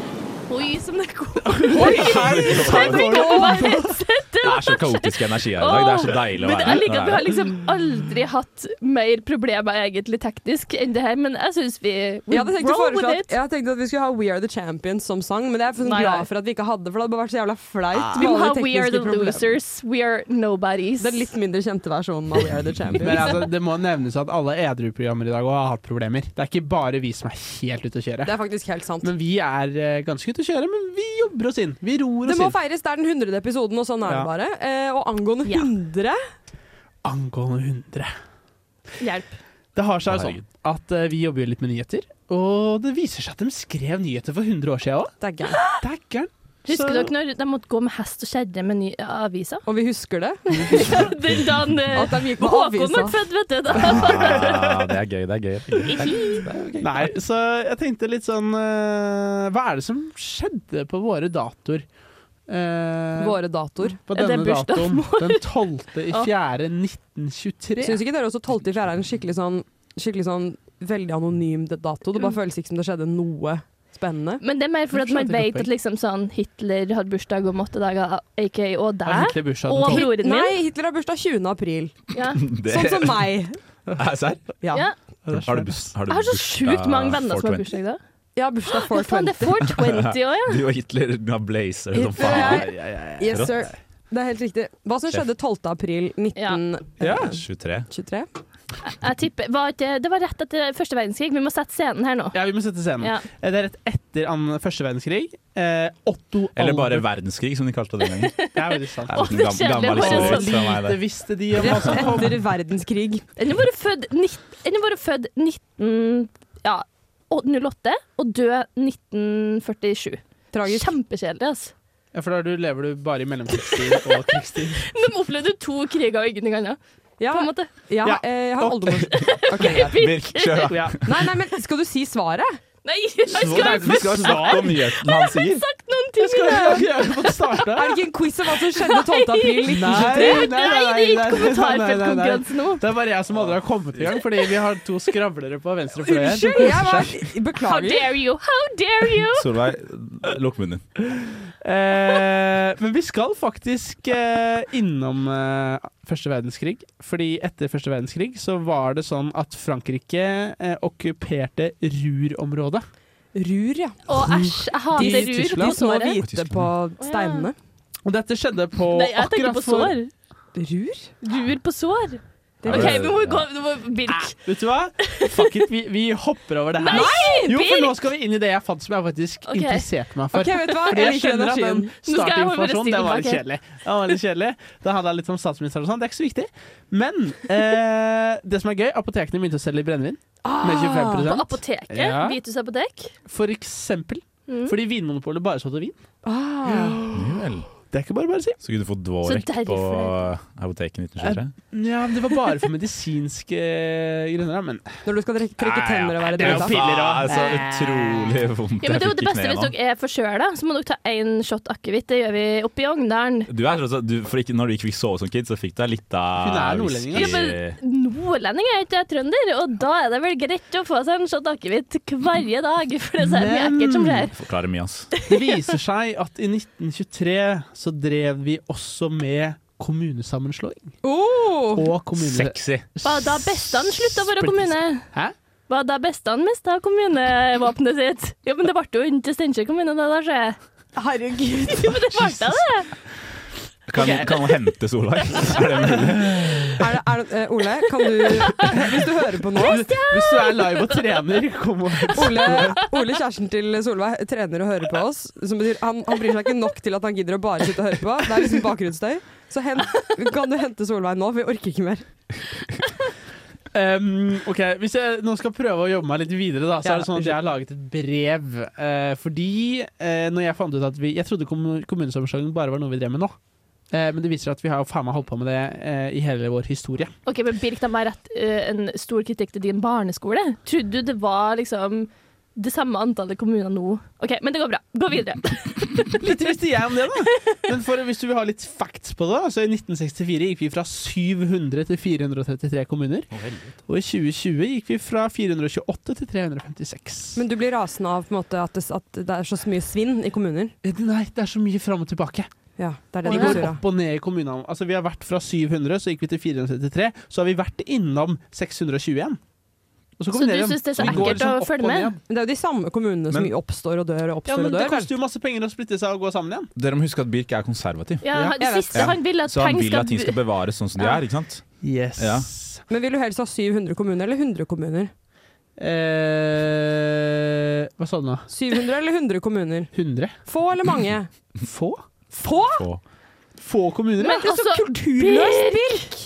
Speaker 8: Oi, som det går!
Speaker 7: Oi,
Speaker 8: Jeg fikk opp meg
Speaker 7: Det er så kaotisk energi her i dag. Det er så deilig å
Speaker 8: Men
Speaker 7: være
Speaker 8: jeg liker at vi har
Speaker 7: her.
Speaker 8: liksom aldri hatt mer problemer egentlig teknisk enn det her, men jeg syns vi we
Speaker 9: Jeg hadde tenkt å
Speaker 8: roll
Speaker 9: foreslå
Speaker 8: with
Speaker 9: at, jeg tenkte at vi skulle ha We Are The Champions som sang, men jeg er sånn
Speaker 8: Nei, nei.
Speaker 9: glad for at vi ikke hadde det, for det hadde bare vært så jævla flaut.
Speaker 8: it.
Speaker 9: med
Speaker 8: Vi må
Speaker 9: alle
Speaker 8: ha
Speaker 9: de tekniske
Speaker 8: We Are The
Speaker 9: problemene.
Speaker 8: Losers, We Are Nobodies.
Speaker 9: Den litt mindre kjente versjonen av We Are The Champions.
Speaker 6: Men altså, det må nevnes at alle edru-programmer i dag også har hatt problemer. Det er ikke bare vi som er helt ute å kjøre.
Speaker 9: Det er faktisk helt sant.
Speaker 6: Men vi er eh, ganske ute å kjøre, men vi jobber oss inn. Vi ror
Speaker 9: Det
Speaker 6: oss
Speaker 9: må
Speaker 6: inn.
Speaker 9: feires. Det er den 100. episoden, og sånn er
Speaker 6: Ja.
Speaker 9: det bare. Eh, og angående 100
Speaker 6: Angående 100.
Speaker 8: Hjelp.
Speaker 6: Det har seg jo sånn at eh, vi jobber jo litt med nyheter, og det viser seg at de skrev nyheter for 100 år siden òg.
Speaker 9: Det er gærent.
Speaker 8: Husker
Speaker 6: Så-
Speaker 8: dere når de måtte gå med hest og kjerre med nye aviser?
Speaker 9: Og vi husker det.
Speaker 8: Den dagen eh,
Speaker 9: At de gikk med
Speaker 8: Håkon
Speaker 9: avisa.
Speaker 8: ble født, vet du. Da.
Speaker 7: Ja, det er gøy, det er gøy.
Speaker 6: Nei, så jeg tenkte litt sånn eh, Hva er det som skjedde på våre datoer? Eh,
Speaker 9: Våre datoer.
Speaker 6: På
Speaker 9: Er det
Speaker 6: denne
Speaker 9: bursdagen
Speaker 6: datoen,
Speaker 9: vår?
Speaker 6: den 12. i
Speaker 9: Ja.
Speaker 6: 4. 1923.
Speaker 9: Syns ikke dere også 12. i 4. er en skikkelig sånn, skikkelig sånn veldig anonym dato? Det bare
Speaker 8: Mm.
Speaker 9: føles ikke som det skjedde noe spennende.
Speaker 8: Men det er mer fordi at
Speaker 9: Hvorfor
Speaker 8: man
Speaker 9: skjønte jeg
Speaker 8: vet
Speaker 9: ikke
Speaker 8: at liksom sånn Hitler hadde bursdag om åtte dager, aka og
Speaker 6: Har
Speaker 8: deg,
Speaker 6: Hitler bursdag den
Speaker 8: og
Speaker 6: 12.?
Speaker 8: broren min.
Speaker 9: Nei, Hitler har bursdag 20. april.
Speaker 8: Ja.
Speaker 7: Det-
Speaker 9: Sånn som meg.
Speaker 7: Er det serr?
Speaker 9: Ja.
Speaker 8: Ja.
Speaker 7: Har du buss? har du
Speaker 8: Jeg har så
Speaker 7: bursdag
Speaker 8: sjukt mange venner som
Speaker 7: 420?
Speaker 8: har bursdag da.
Speaker 9: Jeg har bursdag
Speaker 8: Ja, faen, det er 420 også, ja.
Speaker 7: Du og Hitler du har blazer
Speaker 9: Hitler
Speaker 6: sånn
Speaker 7: som faen.
Speaker 9: er- Eh, Yes, sir. Det er helt riktig. Hva som skjedde 12. april 1923?
Speaker 7: Ja, 23.
Speaker 8: Jeg tipper, var ikke, det var rett etter første verdenskrig. Vi må sette scenen her nå.
Speaker 6: Ja, vi må sette scenen.
Speaker 8: Ja.
Speaker 6: Eh, Det er rett etter an- første verdenskrig. Eh, Otto
Speaker 7: Eller bare
Speaker 6: Albert-
Speaker 7: verdenskrig, som de kalte det den gangen.
Speaker 6: Det er veldig sant.
Speaker 7: Det er liksom Å, det gam- kjedelige gammel historie horisont. fra meg,
Speaker 6: Lite
Speaker 7: det.
Speaker 6: visste de om hva som
Speaker 9: Rett
Speaker 6: kom.
Speaker 9: etter verdenskrig.
Speaker 8: Den er bare født, nitt- den er bare født 19... Ja, å- 08 og død 1947.
Speaker 9: Tragisk.
Speaker 8: Kjempekjedelig, altså.
Speaker 6: Ja, for da er du, lever du bare i mellomkrigstid og krigstid.
Speaker 8: De opplevde to kriger og ingenting annet.
Speaker 9: Ja,
Speaker 8: På en måte.
Speaker 9: Ja,
Speaker 6: Ja.
Speaker 9: eh, jeg har
Speaker 6: Og-
Speaker 9: aldri
Speaker 7: Birk, kjør da.
Speaker 6: Ja.
Speaker 9: Nei, nei, men skal du si svaret?
Speaker 8: Nei, jeg skal
Speaker 7: Nei,
Speaker 8: ikke
Speaker 7: Vi skal jo snakke om nyheten han sier.
Speaker 8: sagt noen ting!
Speaker 6: Skal
Speaker 8: i dag.
Speaker 6: vi jeg har fått starta?
Speaker 9: Er det ikke en quiz om hva som skjedde 12. april
Speaker 6: Nei,
Speaker 9: 1923?
Speaker 6: nei,
Speaker 8: Nei, det er ikke kommentarfeltkonkurranse
Speaker 6: nei, nei,
Speaker 8: nå.
Speaker 6: Det er bare jeg som aldri har kommet i gang, fordi vi har to skravlere på venstre fløy her. som
Speaker 9: Unnskyld, jeg
Speaker 6: koser
Speaker 9: var
Speaker 6: seg.
Speaker 8: How
Speaker 9: Beklager.
Speaker 8: dare you! How dare you!
Speaker 7: Solveig, lukk munnen din.
Speaker 6: Eh, men vi skal faktisk eh, innom eh, første verdenskrig. Fordi etter første verdenskrig så var det sånn at Frankrike eh, okkuperte Ruhr-området.
Speaker 9: Rur, ja.
Speaker 8: Og æsj, jeg hater
Speaker 6: De-
Speaker 8: rur
Speaker 9: De
Speaker 8: på
Speaker 9: små
Speaker 8: såret.
Speaker 9: hvite på steinene.
Speaker 6: Og dette skjedde på
Speaker 8: Nei, jeg tenker
Speaker 6: akkurat
Speaker 8: på sår.
Speaker 9: Rur?
Speaker 8: Rur på sår.
Speaker 7: Ja,
Speaker 8: OK,
Speaker 7: det-
Speaker 8: vi må gå vi må, Birk.
Speaker 6: for Vet du hva? Fuck it, vi, vi hopper over det her.
Speaker 8: Nei,
Speaker 6: jo, for
Speaker 8: Birk!
Speaker 6: nå skal vi inn i det jeg fant som jeg faktisk
Speaker 8: Ok.
Speaker 6: interesserte meg for.
Speaker 9: Ok, vet du hva?
Speaker 6: Fordi
Speaker 9: Jeg
Speaker 6: jeg
Speaker 9: liker
Speaker 6: skjønner at den
Speaker 9: energien.
Speaker 8: skal jeg holde
Speaker 6: startinformasjonen den var litt
Speaker 8: stilen
Speaker 6: kjedelig. Den var litt kjedelig. Det handla litt om statsministeren og sånn. Det er ikke så viktig. Men eh, det som er gøy, apotekene begynte å selge brennevin med 25
Speaker 8: Ah, På apoteket.
Speaker 6: Ja.
Speaker 8: Hvithus apotek.
Speaker 6: For eksempel.
Speaker 8: Mm.
Speaker 6: Fordi Vinmonopolet bare solgte vin.
Speaker 9: Ah.
Speaker 6: Det er ikke bare bare å si.
Speaker 7: Så kunne du få Dvorek
Speaker 8: Så derfor-
Speaker 7: på apoteket i 1923.
Speaker 6: Ja, men Det var bare for medisinske eh, grunner, da. Men
Speaker 9: Når du skal trekke trekke tenner og være
Speaker 6: det er jo
Speaker 9: drita.
Speaker 6: fint. piller
Speaker 7: Ah,
Speaker 6: også.
Speaker 7: Så utrolig vondt
Speaker 8: Ja, men det
Speaker 7: jeg fikk i
Speaker 8: er jo det beste hvis
Speaker 7: knærne.
Speaker 8: dere er forkjøla, så må dere ta én shot akevitt. Det gjør vi oppe i Ogndalen.
Speaker 7: Du er, altså, du, for ikke, når du ikke fikk sove som kid, så fikk du deg litt av
Speaker 6: Hun er nordlending,
Speaker 7: whisky.
Speaker 8: Ja, men Nordlending er ikke jeg trønder, og da er det vel greit å få seg en shot akevitt hver dag, for det er så mye
Speaker 6: Men-
Speaker 8: ekkelt som skjer.
Speaker 7: Forklarer mye, ass.
Speaker 6: det viser seg at i 1923 så drev vi også med kommunesammenslåing.
Speaker 9: Oh!
Speaker 6: Og kommune...
Speaker 7: Sexy.
Speaker 8: Var da bestene slutta å være
Speaker 6: Splittes.
Speaker 8: kommune?
Speaker 6: Hæ?
Speaker 8: Var da bestene mista kommunevåpenet sitt? Ja, men det ble jo ikke Steinkjer kommune, da, Lars.
Speaker 9: Herregud.
Speaker 8: Jo, men det ble da det.
Speaker 7: Kan, kan hun hente Solveig? Er det mulig?
Speaker 9: Er det, er det, eh, Ole, kan du Hvis du hører på nå
Speaker 6: Hvis du er live og trener, kom og
Speaker 9: Ole, Ole, kjæresten til Solveig, trener og hører på oss. Som betyr, han, han bryr seg ikke nok til at han gidder å bare sitte og høre på. Det er liksom bakgrunnsstøy. Så hent, kan du hente Solveig nå, for vi orker ikke mer.
Speaker 6: Um, ok, Hvis jeg nå skal prøve å jobbe meg litt videre, da, så
Speaker 9: Ja,
Speaker 6: er det sånn at jeg har laget et brev. Eh, fordi eh, når jeg fant ut at vi Jeg trodde kommu- kommunesammenslåing bare var noe vi drev med nå. Eh, men det viser at vi har jo faen meg holdt på med det eh, i hele vår historie.
Speaker 8: OK, men Birk, da må jeg rette eh, en stor kritikk til din barneskole. Trodde du det var liksom det samme antallet kommuner nå. OK, men det går bra. Gå videre.
Speaker 6: Litt visste jeg om det, da. Men for, hvis du vil ha litt facts på det, da, så i 1964 gikk vi fra 700 til 433 kommuner. Og i 2020 gikk vi fra 428 til 356.
Speaker 9: Men du blir rasende av på en måte, at, det, at det er så mye svinn i kommuner?
Speaker 6: Eh, Nei, det er så mye fram og tilbake.
Speaker 9: Ja, det er det
Speaker 6: vi
Speaker 9: som er
Speaker 6: går
Speaker 9: surra.
Speaker 6: opp og ned i kommunene. Altså, vi har vært fra 700, så gikk vi til 433. Så har vi vært innom 621. Og
Speaker 9: Så
Speaker 6: kombinerer
Speaker 9: du
Speaker 6: vi dem.
Speaker 9: synes det er så
Speaker 6: Vi går
Speaker 9: ekkelt
Speaker 6: liksom
Speaker 9: å
Speaker 6: opp
Speaker 9: følge
Speaker 6: og
Speaker 9: med?
Speaker 6: ned.
Speaker 9: Men det er jo de samme kommunene som oppstår og dør og
Speaker 6: Ja,
Speaker 9: oppstår
Speaker 6: men
Speaker 9: og
Speaker 6: det
Speaker 9: dør. vel?
Speaker 6: koster jo masse penger å splitte seg og gå sammen igjen.
Speaker 13: Dere må huske at Birk er konservativ.
Speaker 8: Ja, Ja, det jeg vet. siste han vil at
Speaker 13: så han
Speaker 8: penger
Speaker 13: vil
Speaker 8: skal
Speaker 13: at ting skal
Speaker 8: bu-
Speaker 13: bevares sånn som de
Speaker 9: Ja.
Speaker 13: er, ikke sant?
Speaker 6: Yes.
Speaker 13: Ja.
Speaker 9: Men vil du helst ha 700 kommuner eller 100 kommuner?
Speaker 6: Eh, hva sa du nå?
Speaker 9: 700 eller 100 kommuner?
Speaker 6: 100.
Speaker 9: Få eller mange?
Speaker 6: Få?
Speaker 9: Få?
Speaker 13: Få,
Speaker 6: kommuner, ja.
Speaker 8: Men altså,
Speaker 9: kulturløst,
Speaker 8: Birk!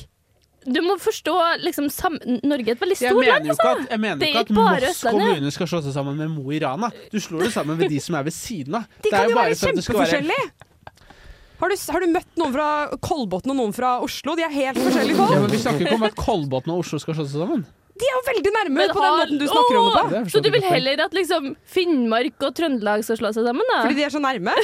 Speaker 8: Du må forstå liksom, sam Norge er et veldig
Speaker 6: Jeg
Speaker 8: stort
Speaker 6: mener
Speaker 8: land,
Speaker 6: jo ikke
Speaker 8: altså.
Speaker 6: at, jeg mener
Speaker 8: det
Speaker 6: jo
Speaker 8: er
Speaker 6: ikke at
Speaker 8: ikke bare
Speaker 6: Moss
Speaker 8: Østlandet.
Speaker 6: kommune skal slå seg sammen med Mo i Rana. Du slår det sammen med de som er ved siden av.
Speaker 9: De
Speaker 6: Det er
Speaker 9: kan jo
Speaker 6: bare
Speaker 9: være
Speaker 6: for at det skal
Speaker 9: kjempeforskjellige! Har du, har du møtt noen fra Kolbotn og noen fra Oslo? De er helt forskjellige folk.
Speaker 6: Ja, men vi snakker ikke om at Kolbotn og Oslo skal slå seg sammen.
Speaker 9: De er jo veldig nærme
Speaker 8: Men
Speaker 9: på den
Speaker 8: har-
Speaker 9: måten du snakker om det
Speaker 8: Åh,
Speaker 9: på.
Speaker 8: Så du vil heller at liksom, Finnmark og Trøndelag skal slå seg sammen, da?
Speaker 9: Fordi de er så nærme?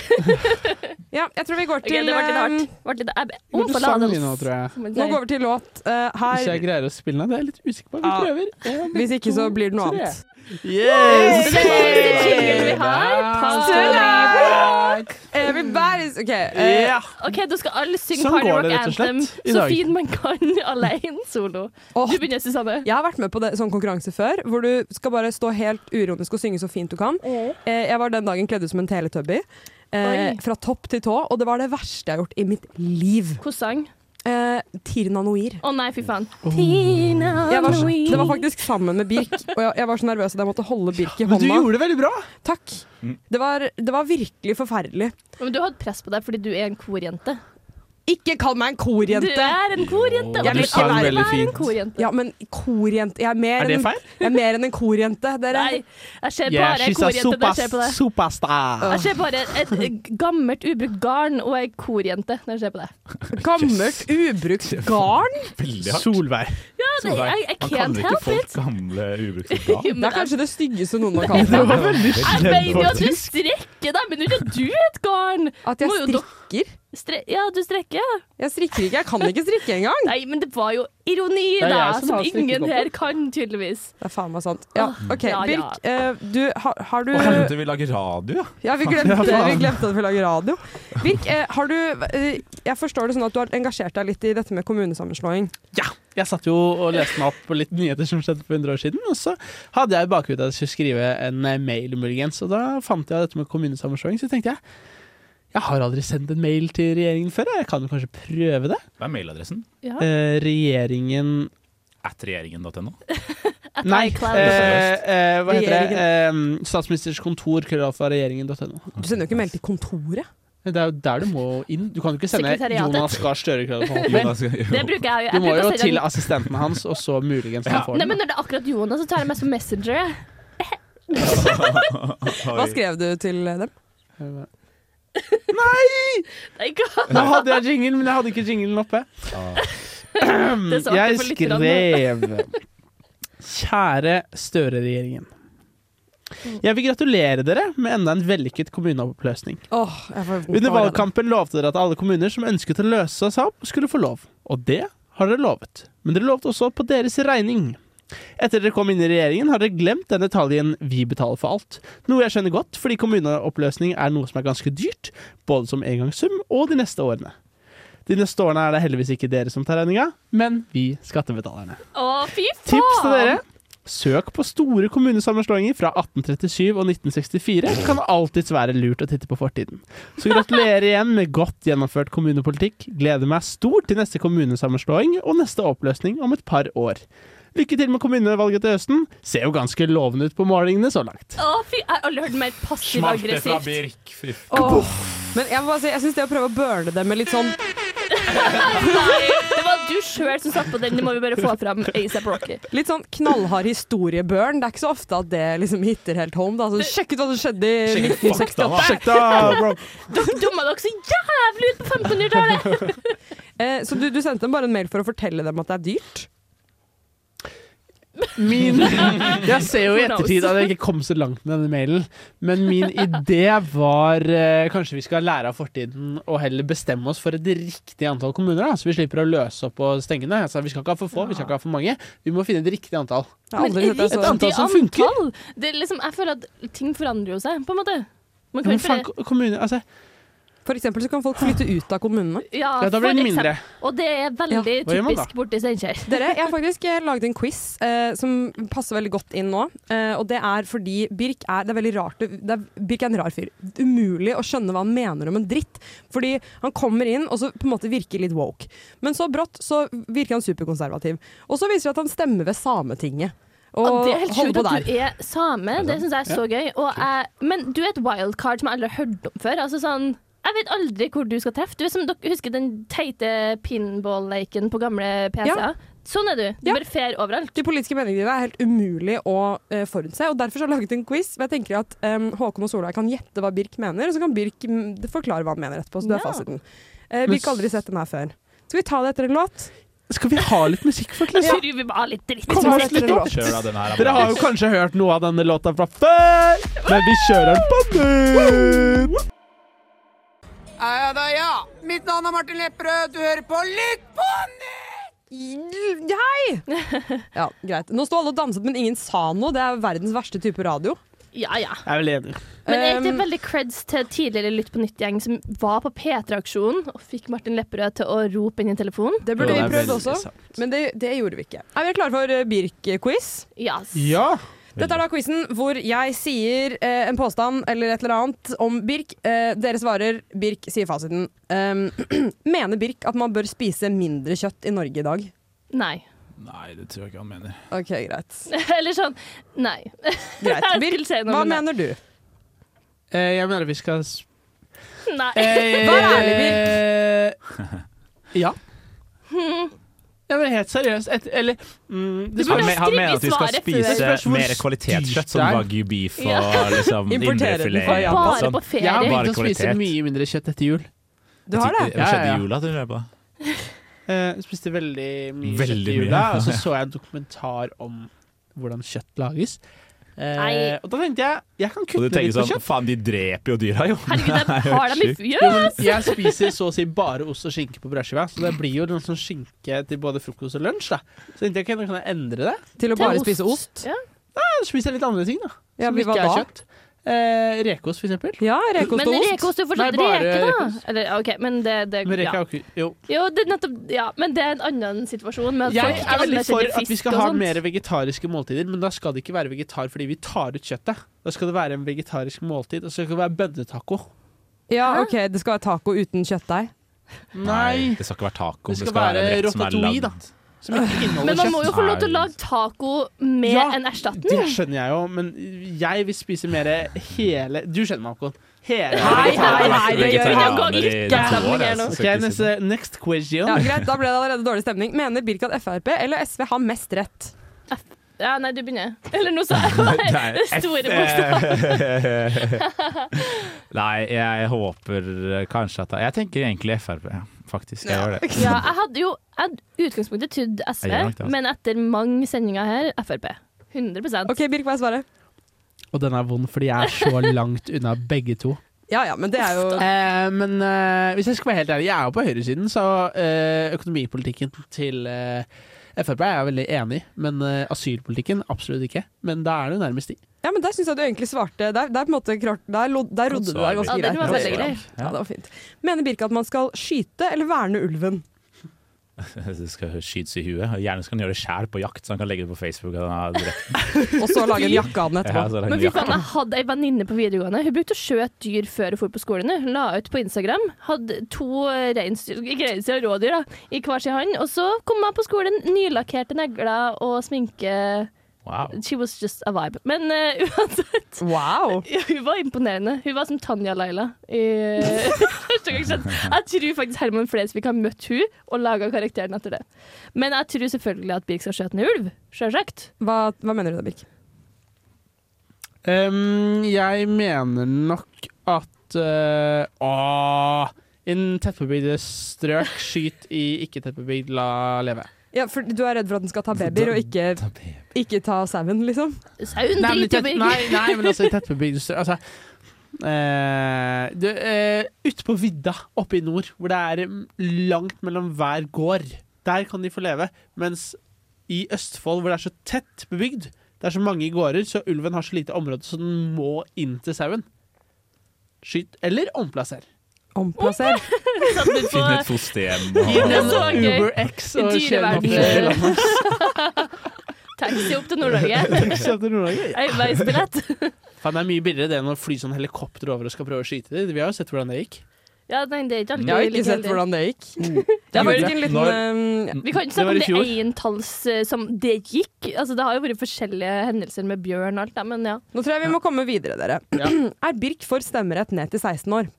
Speaker 9: Ja, jeg tror vi går
Speaker 8: Ok,
Speaker 9: til
Speaker 8: det ble litt
Speaker 9: um,
Speaker 8: hardt. Ble litt, jeg,
Speaker 6: Burde
Speaker 8: overfor
Speaker 6: sang
Speaker 8: Ladels.
Speaker 6: litt nå, tror jeg.
Speaker 9: Nå går vi til låt eh,
Speaker 6: Hvis jeg
Speaker 9: her.
Speaker 6: greier å spille den, det er jeg litt usikker på. Vi
Speaker 9: Ja.
Speaker 6: prøver. Um, En,
Speaker 9: Hvis ikke så blir det noe
Speaker 6: to, tre.
Speaker 9: annet.
Speaker 6: Yes!
Speaker 8: Det er den siste jinglen vi har.
Speaker 9: Party rock! Everybody's OK. eh,
Speaker 6: Ja.
Speaker 8: OK, da skal alle synge
Speaker 9: Sånn
Speaker 8: Party
Speaker 9: går
Speaker 8: Rock
Speaker 9: det rett og slett
Speaker 8: Anthem
Speaker 9: i
Speaker 8: så
Speaker 9: dag.
Speaker 8: fint man kan alene solo. Du begynner, Susanne.
Speaker 9: Jeg har vært med på det, sånn konkurranse før, hvor du skal bare stå helt uironisk og synge så fint du kan. Eh, jeg var den dagen kledd ut som en teletubby. Eh,
Speaker 8: Mm. Oi.
Speaker 9: fra topp til tå, og det var det verste jeg har gjort i mitt liv.
Speaker 8: Hvilken sang?
Speaker 9: Eh, Tirna Noir.
Speaker 8: Å nei, fy faen. Tina
Speaker 9: Jeg var, så-
Speaker 8: Ah, Noir.
Speaker 9: det var faktisk sammen med Birk, og jeg, jeg var så nervøs at jeg måtte holde Birk i
Speaker 6: Men
Speaker 9: hånda.
Speaker 6: du gjorde det veldig bra!
Speaker 9: Takk.
Speaker 6: Mm.
Speaker 9: Det var, det var virkelig forferdelig.
Speaker 8: Men du har hatt press på deg fordi du er en korjente.
Speaker 9: Ikke kall meg en korjente!
Speaker 8: Du er en korjente.
Speaker 9: Jeg vil
Speaker 8: du
Speaker 9: ikke være-
Speaker 8: en korjente.
Speaker 9: Ja, men korjente Jeg er mer
Speaker 6: Er det
Speaker 9: enn-
Speaker 6: feil?
Speaker 9: Jeg er mer enn en korjente. Dere.
Speaker 8: Nei, jeg ser
Speaker 6: Yeah,
Speaker 8: bare en
Speaker 6: she's a
Speaker 8: korjente når jeg ser på
Speaker 6: super,
Speaker 8: deg.
Speaker 6: superstar.
Speaker 8: Jeg ser bare et eh, gammelt, ubrukt garn og ei korjente når jeg ser på deg.
Speaker 9: Gammelt, ubrukt garn?
Speaker 13: Veldig hardt.
Speaker 6: Solveig.
Speaker 8: Ja, det,
Speaker 13: Solveig.
Speaker 8: I, I
Speaker 13: Man
Speaker 8: can't
Speaker 13: kaller ikke
Speaker 8: help
Speaker 13: folk
Speaker 8: it.
Speaker 13: gamle ubrukte garn.
Speaker 9: Det er kanskje det styggeste noen har
Speaker 13: Det
Speaker 9: kalt
Speaker 13: var
Speaker 9: meg.
Speaker 13: veldig
Speaker 8: Jeg
Speaker 13: slem,
Speaker 8: mener jo at du
Speaker 13: faktisk.
Speaker 8: strekker deg, men ikke at du er et garn.
Speaker 9: At jeg
Speaker 8: Må jo dok-
Speaker 9: strikker?
Speaker 8: Stre ja, du strekker. ja.
Speaker 9: Jeg strikker ikke. Jeg kan ikke strikke engang.
Speaker 8: Nei, men det var jo ironi,
Speaker 9: Det er
Speaker 8: da,
Speaker 9: jeg som
Speaker 8: som
Speaker 9: har
Speaker 8: ingen
Speaker 9: strikkekopper.
Speaker 8: her kan, tydeligvis.
Speaker 9: Det er faen meg sant. Ja,
Speaker 8: Åh,
Speaker 9: OK,
Speaker 8: ja, ja.
Speaker 9: Birk. eh, Du, har, har du
Speaker 13: Å, helvete, vi lager radio,
Speaker 9: ja, vi glemte, vi glemte at vi lager radio. Birk, eh, har du eh, Jeg forstår det sånn at du har engasjert deg litt i dette med kommunesammenslåing.
Speaker 6: Ja, jeg satt jo og leste meg opp på litt nyheter som skjedde for 100 år siden, og så hadde jeg i bakhodet at jeg skulle skrive en eh, mail, muligens, og da fant jeg dette med kommunesammenslåing, så tenkte jeg jeg har aldri sendt en mail til regjeringen før, jeg kan jo kanskje prøve det.
Speaker 13: Hva er mailadressen?
Speaker 6: Eh, regjeringen
Speaker 13: At regjeringen.no.
Speaker 6: Nei,
Speaker 13: iCloud.
Speaker 6: eh, eh, hva heter det? Eh, statsministers kontor, krøllalfa regjeringen.no.
Speaker 9: Du sender jo ikke mail til kontoret.
Speaker 6: Det er jo der du må inn. Du kan jo ikke sende
Speaker 8: Sekretariatet.
Speaker 6: Jonas Gahr Støre krøllalfa
Speaker 13: Jonas
Speaker 6: hotmail.
Speaker 8: Det bruker jeg jo. Jeg
Speaker 6: Du må
Speaker 8: bruker
Speaker 6: jo
Speaker 8: å
Speaker 6: til
Speaker 8: sende-
Speaker 6: assistenten hans, og så muligens han får
Speaker 8: Nei,
Speaker 6: den.
Speaker 8: men når det er akkurat Jonas, så tar jeg mest på Messenger. jeg.
Speaker 9: Hva skrev du til dem?
Speaker 8: Nei, hva?
Speaker 6: Nå hadde jeg jingle, men jeg hadde ikke jinglen oppe.
Speaker 8: Det sa
Speaker 6: Jeg
Speaker 8: ikke for
Speaker 6: skrev
Speaker 8: lytterne.
Speaker 6: Kjære Støre-regjeringen.
Speaker 8: Mm.
Speaker 6: Jeg vil gratulere dere med enda en vellykket kommuneoppløsning.
Speaker 9: Åh, jeg får vondt
Speaker 6: Under
Speaker 9: av det.
Speaker 6: valgkampen lovte dere at alle kommuner som ønsket å løse seg opp, skulle få lov. Og det har dere lovet. Men dere lovte også på deres regning. Etter dere kom inn i regjeringen, har dere glemt den detaljen 'vi betaler for alt'. Noe jeg skjønner godt, fordi kommuneoppløsning er noe som er ganske dyrt, både som engangssum og de neste årene. De neste årene er det heldigvis ikke dere som tar regninga, men vi skattebetalerne.
Speaker 8: Å, fy faen!
Speaker 6: Tips til dere. Søk på store kommunesammenslåinger fra 1837 og 1964. Det kan alltids være lurt å titte på fortiden. Så gratulerer igjen med godt gjennomført kommunepolitikk. Gleder meg stort til neste kommunesammenslåing og neste oppløsning om et par år. Lykke til med kommunevalget til høsten. Ser jo ganske lovende ut på målingene så langt.
Speaker 8: Å, fy, jeg har aldri hørt mer passiv-aggressivt.
Speaker 13: Birk. Fy f-
Speaker 9: Åh, Men jeg må bare si, jeg syns det å prøve å burne dem med litt sånn
Speaker 8: Nei, det var du sjøl som satt på den, det må vi bare få fram ASAP Rocky.
Speaker 9: Litt sånn knallhard historiebørn. Det er ikke så ofte at det liksom hitter helt home. Da. Så sjekk ut hva som skjedde i
Speaker 6: Sjekk ut fakta, da.
Speaker 9: 1968.
Speaker 6: Sjekk da, bro.
Speaker 8: Dere dumma dere så jævlig ut på 1500-tallet!
Speaker 9: Eh, så du, du sendte dem bare en mail for å fortelle dem at det er dyrt?
Speaker 6: min Jeg ser jo i ettertid at jeg ikke kom så langt med denne mailen, men min idé var eh, Kanskje vi skal lære av fortiden og heller bestemme oss for et riktig antall kommuner, da, så vi slipper å løse opp og stenge ned. Altså, vi skal ikke ha for få, vi skal ikke ha for mange. Vi må finne et riktig antall.
Speaker 8: Men riktig
Speaker 6: Et antall som funker.
Speaker 8: antall? Det er liksom, jeg føler at ting forandrer jo seg, på en måte. Man
Speaker 6: Ja,
Speaker 8: kan
Speaker 6: men
Speaker 8: ikke
Speaker 6: faen,
Speaker 8: bare-
Speaker 6: ko- kommune, altså,
Speaker 9: For eksempel så kan folk flytte ut av kommunene.
Speaker 8: ja,
Speaker 9: Ja, da blir
Speaker 8: for
Speaker 9: det
Speaker 8: eksempel.
Speaker 9: mindre.
Speaker 8: Og det er veldig
Speaker 9: Ja. Hva gjør man da?
Speaker 8: typisk borti Steinkjer.
Speaker 9: Dere, jeg har faktisk eh, laget en quiz eh, som passer veldig godt inn nå. Eh, og det er fordi Birk er, det er veldig rart, det er, Birk er en rar fyr. Umulig å skjønne hva han mener om en dritt. Fordi han kommer inn og så på en måte virker litt woke. Men så brått så virker han superkonservativ. Og så viser det at han stemmer ved Sametinget. Og,
Speaker 8: Og det er helt
Speaker 9: holder
Speaker 8: sjukt
Speaker 9: på
Speaker 8: at du
Speaker 9: der.
Speaker 8: er same. Det syns jeg er så gøy. Og jeg, men du er et wildcard som jeg aldri har hørt om før. Altså sånn jeg vet aldri hvor du skal treffe. Du er som dere husker den teite pinball-leken på gamle PC-er.
Speaker 9: Ja.
Speaker 8: Sånn er du. Du bare fer overalt.
Speaker 9: De politiske meningene dine er helt umulig å eh, forutse. og Derfor så har jeg laget en quiz. hvor Jeg tenker at eh, Håkon og Solveig kan gjette hva Birk mener, og så kan Birk mm, forklare hva han mener etterpå. Så det er
Speaker 6: Ja.
Speaker 9: fasiten. Eh, Birk har aldri sett den her før. Skal vi ta det etter en låt?
Speaker 6: Skal vi ha litt musikk,
Speaker 8: Jeg
Speaker 6: folkens?
Speaker 8: tror vi må ha litt dritt.
Speaker 6: Kom,
Speaker 8: Sånn.
Speaker 6: litt opp.
Speaker 13: Kjør da, den her er
Speaker 6: Dere
Speaker 13: bra.
Speaker 6: har jo kanskje hørt noe av denne låta fra før, men vi kjører den på nytt!
Speaker 12: Ja da, ja. Mitt navn er Martin Lepperød. Du hører på Lytt på
Speaker 9: nytt! Hei! Ja, greit. Nå sto alle og danset, men ingen sa noe. Det er verdens verste type radio.
Speaker 8: Ja, ja.
Speaker 6: Jeg er vel enig.
Speaker 8: Men er ikke det
Speaker 9: Um,
Speaker 8: veldig creds til tidligere Lytt på nytt-gjeng som var på P3-aksjonen og fikk Martin Lepperød til å rope inn i telefonen?
Speaker 9: Det burde vi prøvd også, men det, det gjorde vi ikke. Er vi klare for eh, Birk-quiz?
Speaker 8: Yes.
Speaker 6: Ja.
Speaker 9: Dette er da quizen hvor jeg sier eh, en påstand eller et eller annet om Birk. Eh, dere svarer, Birk sier fasiten. Um, mener Birk at man bør spise mindre kjøtt i Norge i dag?
Speaker 8: Nei.
Speaker 13: Nei, det tror jeg ikke han mener.
Speaker 9: Ok, greit.
Speaker 8: Eller sånn Nei.
Speaker 9: Greit.
Speaker 8: Jeg
Speaker 9: Birk,
Speaker 8: skulle si noe,
Speaker 9: hva
Speaker 8: men nei.
Speaker 9: mener du?
Speaker 6: Eh, Jeg mener vi skal s-
Speaker 8: Nei.
Speaker 6: Eh, Ja.
Speaker 8: Hmm.
Speaker 6: Jeg mener helt seriøst. Et, eller mm,
Speaker 8: Du burde
Speaker 13: Han,
Speaker 8: ha
Speaker 13: me- han mener at vi skal
Speaker 8: skrevet svaret
Speaker 13: spise
Speaker 8: før.
Speaker 6: Spørs hvor
Speaker 13: mer kvalitetskjøtt, som
Speaker 6: styrt det er.
Speaker 13: wagyu beef og
Speaker 8: Ja.
Speaker 13: liksom
Speaker 6: Importere den
Speaker 13: indrefilet.
Speaker 6: fra
Speaker 13: og
Speaker 6: Japan.
Speaker 13: sånn.
Speaker 8: Bare på ferie.
Speaker 6: Jeg har
Speaker 13: Bare
Speaker 6: begynt å spise
Speaker 13: kvalitet.
Speaker 6: mye mindre kjøtt etter jul.
Speaker 9: Du har det?
Speaker 13: Hva skjedde
Speaker 6: Ja, ja,
Speaker 13: i
Speaker 6: ja.
Speaker 13: jula? Du lurer på?
Speaker 6: Eh, jeg spiste veldig mye
Speaker 13: Veldig
Speaker 6: kjøtt i
Speaker 13: mye.
Speaker 6: jula, og så så jeg en dokumentar om hvordan kjøtt lages. Eh,
Speaker 13: Nei.
Speaker 6: og da tenkte jeg jeg kan
Speaker 13: Og
Speaker 6: kutte
Speaker 13: du
Speaker 6: litt
Speaker 13: tenker
Speaker 6: på
Speaker 13: sånn,
Speaker 6: kjøtt.
Speaker 13: faen, de dreper jo dyra, jo. Herregud,
Speaker 8: har de i
Speaker 6: Jo, men jeg spiser så å si bare ost og skinke på brødskiva, så det blir jo noe sånn skinke til både frokost og lunsj. Da. Så tenkte jeg ok, nå kan jeg endre det.
Speaker 9: Til å bare spise ost?
Speaker 8: Ja.
Speaker 6: Nei, så spiser jeg litt andre ting, da.
Speaker 9: Ja,
Speaker 6: som
Speaker 9: men hva
Speaker 6: ikke er
Speaker 9: da?
Speaker 6: kjøtt. Eh, rekeost, for eksempel.
Speaker 9: Ja,
Speaker 8: Men rekeost er jo fortsatt
Speaker 6: Nei, bare
Speaker 8: reke,
Speaker 6: rekeost.
Speaker 8: da. Eller, OK, men det, det
Speaker 6: Men reke
Speaker 8: ja.
Speaker 6: er jo ikke Jo.
Speaker 8: Jo, det er nettopp Ja, men det er en annen situasjon. Med at
Speaker 6: Jeg
Speaker 8: Altså, folk ikke
Speaker 6: er veldig
Speaker 8: anerkjenner
Speaker 6: for at vi
Speaker 8: fisk
Speaker 6: skal
Speaker 8: og
Speaker 6: ha
Speaker 8: sånt.
Speaker 6: mer vegetariske måltider, men da skal det ikke være vegetar fordi vi tar ut kjøttet. Da skal det være en vegetarisk måltid, og så skal det være bønnetaco.
Speaker 9: Ja, OK, det skal være taco uten kjøttdeig.
Speaker 6: Nei.
Speaker 13: Det skal ikke være taco.
Speaker 6: Det
Speaker 13: Det
Speaker 6: skal
Speaker 13: skal være en
Speaker 6: være
Speaker 13: rett som er
Speaker 6: ratatouille,
Speaker 13: lagd.
Speaker 6: Som ikke
Speaker 8: Men
Speaker 6: inneholder
Speaker 8: man må jo få lov til å
Speaker 13: Nei.
Speaker 8: lage taco med
Speaker 6: Ja,
Speaker 8: en erstatning.
Speaker 6: Det skjønner jeg jo, men jeg vil spise mer hele Du skjønner meg, Håkon. Hele
Speaker 9: Nei, nei, nei, det gjør
Speaker 6: vegetarisk-
Speaker 9: jeg ikke. Ikke stemning her nå.
Speaker 6: Ok, neste, next question.
Speaker 9: Ja, greit, da ble det allerede dårlig stemning. Mener Birk at Frp eller SV har mest rett?
Speaker 8: Ja, nei, du begynner. Eller noe sånt. Det store bokstaver.
Speaker 13: Nei, jeg håper kanskje at Jeg tenker egentlig Frp, ja, faktisk. Jeg gjør det.
Speaker 8: Ja, jeg hadde jo jeg hadde i utgangspunktet trodd SV,
Speaker 13: Jeg gjør nok det, altså.
Speaker 8: men etter mange sendinger her, Frp. 100
Speaker 9: OK, Birk, hva er svaret?
Speaker 6: Og den er vond fordi jeg er så langt unna begge to.
Speaker 9: Ja ja, men det er jo
Speaker 6: Eh, men eh, hvis jeg skal være helt ærlig, jeg er jo på høyresiden, så eh, økonomipolitikken til eh, Frp er jeg veldig enig i. Men eh, asylpolitikken absolutt ikke. Men da er det jo nærmest de.
Speaker 9: Ja, men Der syns jeg du egentlig svarte. Der, der, på en måte, klart, der, lod, der rodde du deg ganske
Speaker 8: Ja, det var veldig
Speaker 9: greit.
Speaker 8: greit.
Speaker 9: Ja, det var fint. Mener Birke at man skal skyte eller verne ulven?
Speaker 13: Det skal skytes i huet. og Gjerne skal han gjøre det sjæl på jakt, så han kan legge det på Facebook. Og han har drept den.
Speaker 9: Og så lage en jakke av den
Speaker 13: Ja, så
Speaker 9: etterpå.
Speaker 13: lager han
Speaker 8: Men fy
Speaker 13: jakke.
Speaker 8: faen, jeg hadde ei venninne på videregående. Hun brukte å skjøte dyr før hun dro på skolen. Hun la ut på Instagram. Hadde to reinsdyr, ikke reinsdyr, rådyr da, i hver sin hånd. Og så kom jeg på skolen, nylakkerte negler og sminke. She was just a vibe. Men eh, uansett
Speaker 9: Wow!
Speaker 8: ja, Hun var imponerende. Hun var som Tanja Laila. I, første gang skjedd. Jeg tror faktisk Herman Flesvig har møtt hun og laga karakteren etter det. Men jeg tror selvfølgelig at Birk skal skjøte en ulv. Sjølsagt.
Speaker 9: Hva, hva mener du da, Birk?
Speaker 6: Ehm, jeg mener nok at uh, Åh! Innen tettbebygde strøk, skyt i ikke tettbebygd, la leve.
Speaker 9: Ja, for du er redd for at den skal ta babyer, og ikke ta, ikke ta sauen, liksom?
Speaker 8: Sauen
Speaker 6: Nei, men, i tett- nei, nei, men altså i tettbebygde strøk altså, eh, du, eh, Ute på vidda oppe i nord, hvor det er mm, langt mellom hver gård, der kan de få leve. Mens i Østfold, hvor det er så tett bebygd, det er så mange gårder, så ulven har så lite område, så den må inn til sauen. Skyt eller omplasser.
Speaker 9: Omplasser.
Speaker 7: Finne et fosterhjem og
Speaker 6: Gi den
Speaker 8: så gøy.
Speaker 6: UberX og
Speaker 8: Dyreverden.
Speaker 6: kjøp
Speaker 8: Taxi opp til Nord-Norge. Enveisbillett.
Speaker 6: Faen, det er mye billigere det enn å fly sånn helikopter over og skal prøve å skyte dem. Vi har jo sett hvordan det gikk.
Speaker 8: Ja, nei, det er Mm.
Speaker 9: Jeg
Speaker 8: ikke alltid
Speaker 9: har
Speaker 8: like
Speaker 9: ikke sett
Speaker 8: heldig.
Speaker 9: hvordan det gikk.
Speaker 6: Det
Speaker 9: Det
Speaker 6: er
Speaker 9: er en
Speaker 6: faktisk en liten,
Speaker 9: liten um,
Speaker 6: Når-
Speaker 8: Vi kan ikke
Speaker 6: Det var
Speaker 8: snakke om
Speaker 6: i
Speaker 8: det
Speaker 6: fjor.
Speaker 8: eintalls eh, som det gikk. Altså, det har jo vært forskjellige hendelser med bjørn og alt det, men ja.
Speaker 9: Nå tror jeg vi må komme videre, dere. Er Birk for stemmerett ned til 16 år?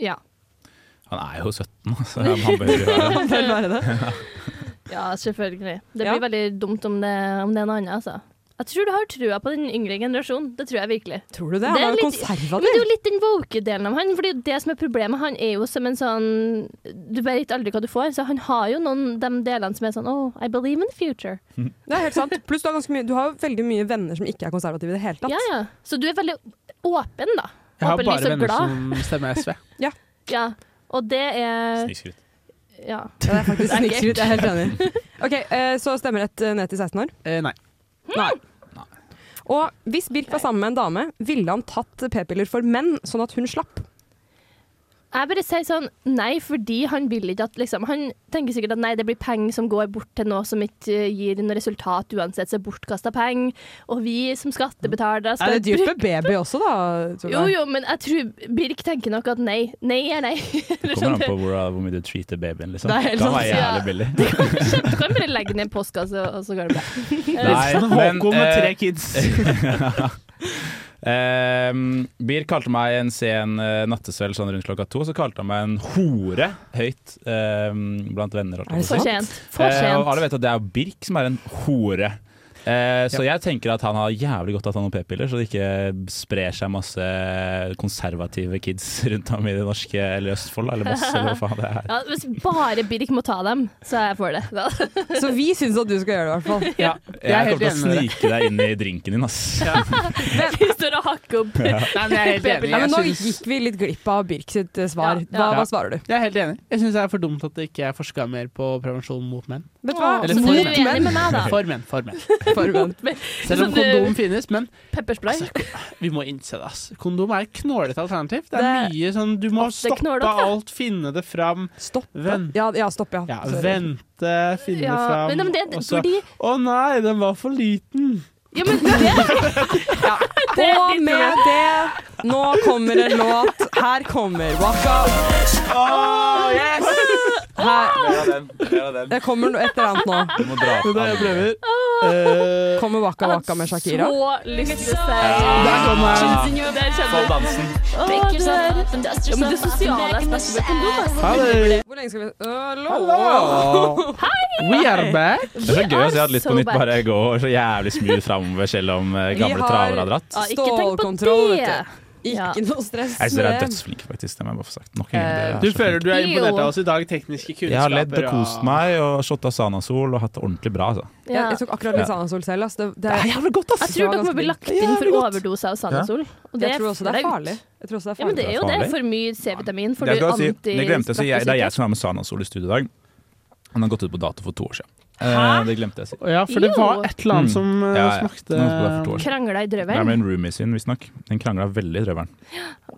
Speaker 8: Ja,
Speaker 7: Han er jo 17, så han bør jo være
Speaker 9: Bør være det.
Speaker 8: ja selvfølgelig. Det blir
Speaker 9: Ja.
Speaker 8: veldig dumt om det, om det er noe annet, altså. Jeg tror du har trua på den yngre generasjonen. Det tror jeg virkelig.
Speaker 9: Tror du det? Han
Speaker 8: Det er
Speaker 9: er jo
Speaker 8: litt- Men det er
Speaker 9: konservativ.
Speaker 8: jo litt den woke delen av han, for det er jo det som er problemet. Han er jo som en sånn Du vet aldri hva du får, så han har jo noen de delene som er sånn Oh, I believe in the future.
Speaker 9: Det er helt sant. Pluss du har, ganske mye, du har jo veldig mye venner som ikke er konservative i det hele tatt.
Speaker 8: Ja, ja. Så du er veldig åpen, da.
Speaker 6: Jeg har
Speaker 8: Åpenlyst
Speaker 6: bare
Speaker 8: og
Speaker 6: venner
Speaker 8: glad.
Speaker 6: som stemmer SV.
Speaker 8: Ja. Og det er
Speaker 7: Snikskryt.
Speaker 8: Ja.
Speaker 9: Ja, det er faktisk
Speaker 8: Det er
Speaker 9: snikskryt. Jeg er helt enig. Ok, eh, Så stemmerett eh, ned til 16 år?
Speaker 6: Eh, nei.
Speaker 9: Nei. Og hvis Birk var sammen med en dame, ville han tatt p-piller for menn, sånn at hun slapp?
Speaker 8: Jeg bare sier sånn nei, fordi han vil ikke at liksom Han tenker sikkert at nei, det blir penger som går bort til noe som ikke eh, gir noe resultat uansett, så er bortkasta penger. Og vi som skattebetalere skal
Speaker 9: Er det dyrt
Speaker 8: bruke-
Speaker 9: med baby også, da? Tror
Speaker 8: Jo, jo, men jeg tror Birk tenker nok at nei. Nei er nei. Eller
Speaker 7: Kommer
Speaker 8: sånn,
Speaker 7: an på hvor, hvor mye du treater babyen, liksom.
Speaker 8: Det er helt
Speaker 7: Da
Speaker 8: sant,
Speaker 7: var jeg
Speaker 8: ja.
Speaker 7: jævlig billig.
Speaker 8: Du kan bare legge ned postkasse, og så går det bra.
Speaker 7: Nei,
Speaker 6: Sånn
Speaker 7: men,
Speaker 6: Håkon med
Speaker 7: eh,
Speaker 6: tre kids.
Speaker 7: Ehm, Bir kalte meg en sen eh, nattesøl sånn rundt klokka to, så kalte han meg en hore høyt ehm, blant venner. holdt jeg på å si.
Speaker 8: For sent. For
Speaker 7: Eh, og
Speaker 8: sent.
Speaker 7: alle vet at det er Birk som er en hore. Eh, så jeg tenker at han har jævlig godt av å ta noen p-piller, så det ikke sprer seg masse konservative kids rundt om i det norske eller Østfold, eller Moss, eller hva faen det er.
Speaker 8: Ja, hvis bare Birk må ta dem, så er jeg for det.
Speaker 9: jeg. Så vi syns at du skal gjøre det, i hvert fall.
Speaker 6: Ja, jeg er
Speaker 7: Jeg
Speaker 6: helt
Speaker 7: kommer til å
Speaker 6: enig med deg.
Speaker 7: snike deg inn i drinken din, ass.
Speaker 8: Vi står og hakker opp.
Speaker 6: Nei, men jeg er helt enig.
Speaker 9: Nei, men
Speaker 6: Jeg
Speaker 9: nå
Speaker 6: syns-
Speaker 9: gikk vi litt glipp av Birk sitt eh, svar.
Speaker 8: Ja, ja.
Speaker 9: Hva,
Speaker 6: Ja.
Speaker 9: hva svarer du?
Speaker 6: Jeg er helt enig. Jeg syns det er for dumt at det ikke er forska mer på prevensjon mot menn.
Speaker 9: Vet du hva?
Speaker 6: Eller
Speaker 8: Så
Speaker 6: for
Speaker 8: du er
Speaker 6: menn.
Speaker 8: uenig med meg, da?
Speaker 6: For menn, for menn.
Speaker 9: For menn.
Speaker 6: Selv om
Speaker 8: Sånn, eh,
Speaker 6: kondom finnes, men
Speaker 8: Pepperspray?
Speaker 6: vi må innse det, ass. Kondom er et knålete alternativ. Det er
Speaker 8: Det-
Speaker 6: mye sånn du må
Speaker 8: Det er
Speaker 6: stoppe
Speaker 8: knålete.
Speaker 6: alt, finne det fram,
Speaker 9: Stopp.
Speaker 6: Venn.
Speaker 9: Ja, ja, stopp, ja.
Speaker 6: ja,
Speaker 9: Sorry.
Speaker 6: vente, finne
Speaker 8: Ja,
Speaker 6: det fram.
Speaker 8: men, men det,
Speaker 6: og så-
Speaker 8: fordi
Speaker 6: Å nei, den var for liten.
Speaker 8: Ja, men det,
Speaker 9: Og med det, nå kommer en låt. Her kommer Waka. Oh, Her, det kommer no- et eller annet nå.
Speaker 7: Du må dra
Speaker 6: Det er det jeg prøver. Eh,
Speaker 9: Kommer Waka Waka med Shakira.
Speaker 8: så lyst til å si
Speaker 6: der kom den.
Speaker 8: Det er
Speaker 7: på
Speaker 8: kjempe...
Speaker 7: dansen.
Speaker 8: Å, det er ja, men det sosiale aspektet med kondom, altså.
Speaker 6: Ha det.
Speaker 9: Hvor lenge skal vi Hallo!
Speaker 6: Hallo. We are back.
Speaker 7: Det er så gøy å se at Litt
Speaker 8: so
Speaker 7: på nytt
Speaker 8: back.
Speaker 7: bare går så jævlig smooth framover, selv om eh,
Speaker 9: Vi
Speaker 7: gamle
Speaker 9: har-
Speaker 7: traver har dratt.
Speaker 8: Ja, ikke tenk på
Speaker 9: Stålkontroll,
Speaker 8: det.
Speaker 9: vet Ikke noe stress.
Speaker 7: Jeg synes dere
Speaker 9: med
Speaker 7: er
Speaker 9: det.
Speaker 7: dødsflinke, faktisk. Det må jeg bare få sagt. Nok en gang.
Speaker 8: Eh,
Speaker 7: dere er
Speaker 6: Du
Speaker 7: så
Speaker 6: føler
Speaker 7: flinke.
Speaker 6: du er imponert
Speaker 8: Jo.
Speaker 6: av oss i dag, tekniske kunnskaper.
Speaker 7: Jeg har ledd og
Speaker 6: av-
Speaker 7: kost meg og shotta Sanasol og hatt det ordentlig bra, altså.
Speaker 8: Ja.
Speaker 9: Ja, jeg tok akkurat litt Sanasol selv. ass. Det, det,
Speaker 7: Det er jævlig godt, ass!
Speaker 8: Jeg tror dere må bli lagt inn for
Speaker 7: Jævlig godt.
Speaker 8: overdose av Sanasol. Og
Speaker 9: jeg tror også det er
Speaker 8: flaut.
Speaker 9: farlig. Jeg tror også det er
Speaker 8: Ja, men det
Speaker 9: farlig.
Speaker 8: er jo det. For mye C-vitamin. For
Speaker 7: Det
Speaker 8: du
Speaker 7: skal jeg si, det glemte jeg, å si. jeg, det er jeg
Speaker 8: antispraktisk.
Speaker 7: som er med Sanasol i studio i dag. Den har gått ut på dato for to år siden. Eh, Det glemte jeg å si.
Speaker 6: Ja, for det
Speaker 8: Jo.
Speaker 6: var et eller annet
Speaker 7: Mm.
Speaker 6: som eh,
Speaker 7: Ja, ja.
Speaker 6: smakte
Speaker 7: Den har gått på dato for to år siden.
Speaker 8: Krangla i
Speaker 7: Det er
Speaker 8: drøvelen.
Speaker 7: med en roomie sin, visstnok. Den krangla veldig i drøvelen.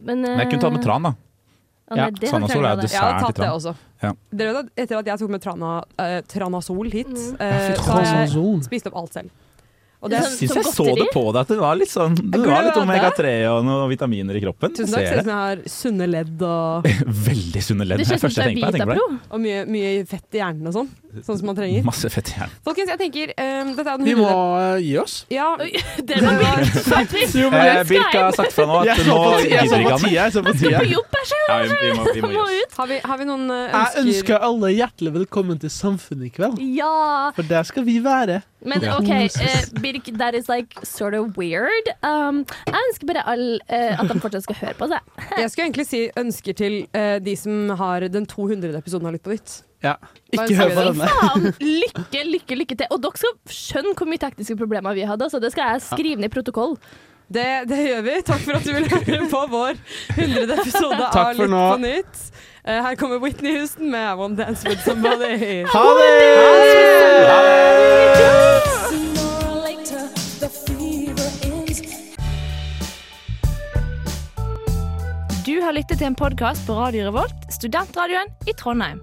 Speaker 8: Men,
Speaker 7: Men jeg kunne tatt med tran, da.
Speaker 8: Ja,
Speaker 7: Ja, Sanasol
Speaker 9: Jeg
Speaker 7: er
Speaker 9: hadde
Speaker 7: Sært i
Speaker 9: tatt det
Speaker 7: tran.
Speaker 9: også.
Speaker 7: Ja.
Speaker 9: Dere vet at Etter at jeg tok med trana, eh, Tranasol hit, eh,
Speaker 6: Jeg fikk
Speaker 9: så har jeg
Speaker 6: Tranasol.
Speaker 9: spist opp alt selv. Og
Speaker 8: Det
Speaker 9: det
Speaker 8: er
Speaker 9: er
Speaker 8: sånn- som godteri?
Speaker 7: på deg at du var litt sånn Du
Speaker 9: Glød, da.
Speaker 7: og noen vitaminer i kroppen.
Speaker 9: Tusen takk.
Speaker 7: Ser
Speaker 9: Ser ut
Speaker 7: det.
Speaker 9: som jeg har sunne ledd og,
Speaker 7: Veldig sunne ledd.
Speaker 8: Det
Speaker 7: Det er det
Speaker 8: ser ut som
Speaker 7: første jeg
Speaker 8: det
Speaker 7: tenker på.
Speaker 8: er
Speaker 7: Jeg tenker på
Speaker 8: Vitapro.
Speaker 9: og mye, mye fett i hjernen og sånn. Sånn som man
Speaker 7: det.
Speaker 9: trenger.
Speaker 7: Masse fett i hjernen.
Speaker 9: Folkens, jeg tenker eh, Dette er den
Speaker 6: Vi må
Speaker 9: hundre-
Speaker 6: eh, gi oss.
Speaker 9: Ja,
Speaker 8: Det var virkelig svært trist.
Speaker 6: Jo,
Speaker 7: Eh,
Speaker 8: skal
Speaker 7: Birk har
Speaker 8: jeg-
Speaker 7: sagt fra nå at
Speaker 6: Jeg så
Speaker 7: nå
Speaker 6: på tida, jeg
Speaker 7: gidder
Speaker 6: så
Speaker 7: ikke
Speaker 6: på
Speaker 7: han.
Speaker 6: tida, jeg så på tida.
Speaker 8: På jobb, jeg ser
Speaker 7: Ja, vi, vi må, vi
Speaker 8: jeg
Speaker 7: må gi
Speaker 8: må
Speaker 7: oss.
Speaker 8: ut.
Speaker 9: har vi, har vi noen eh,
Speaker 6: Jeg
Speaker 9: ønsker
Speaker 6: ønsker alle hjertelig velkommen til Samfunnet i kveld,
Speaker 8: Ja.
Speaker 6: for der skal vi være.
Speaker 8: Men OK, eh, Birk, that is like sort of weird. Um, jeg ønsker bare alle eh, at de fortsatt skal høre på oss. jeg.
Speaker 9: Jeg skulle egentlig si ønsker til eh, de som har den 200. episoden av Lytt på nytt.
Speaker 6: Ja.
Speaker 8: Bare
Speaker 6: Ikke hør på
Speaker 8: si Faen,
Speaker 6: denne.
Speaker 8: lykke, lykke, lykke til. Og dere skal skjønne hvor mye tekniske problemer vi hadde. Så det skal jeg skrive ned i protokoll.
Speaker 9: Det, gjør vi. Takk for at du vil høre på vår 100. episode av
Speaker 6: Takk for
Speaker 9: Litt
Speaker 6: nå.
Speaker 9: på nytt. Eh, Her kommer Whitney Houston med I Won't Dance With Somebody.
Speaker 6: Ha det!
Speaker 14: Du har lyttet til en podkast på Radio Revolt, studentradioen i Trondheim.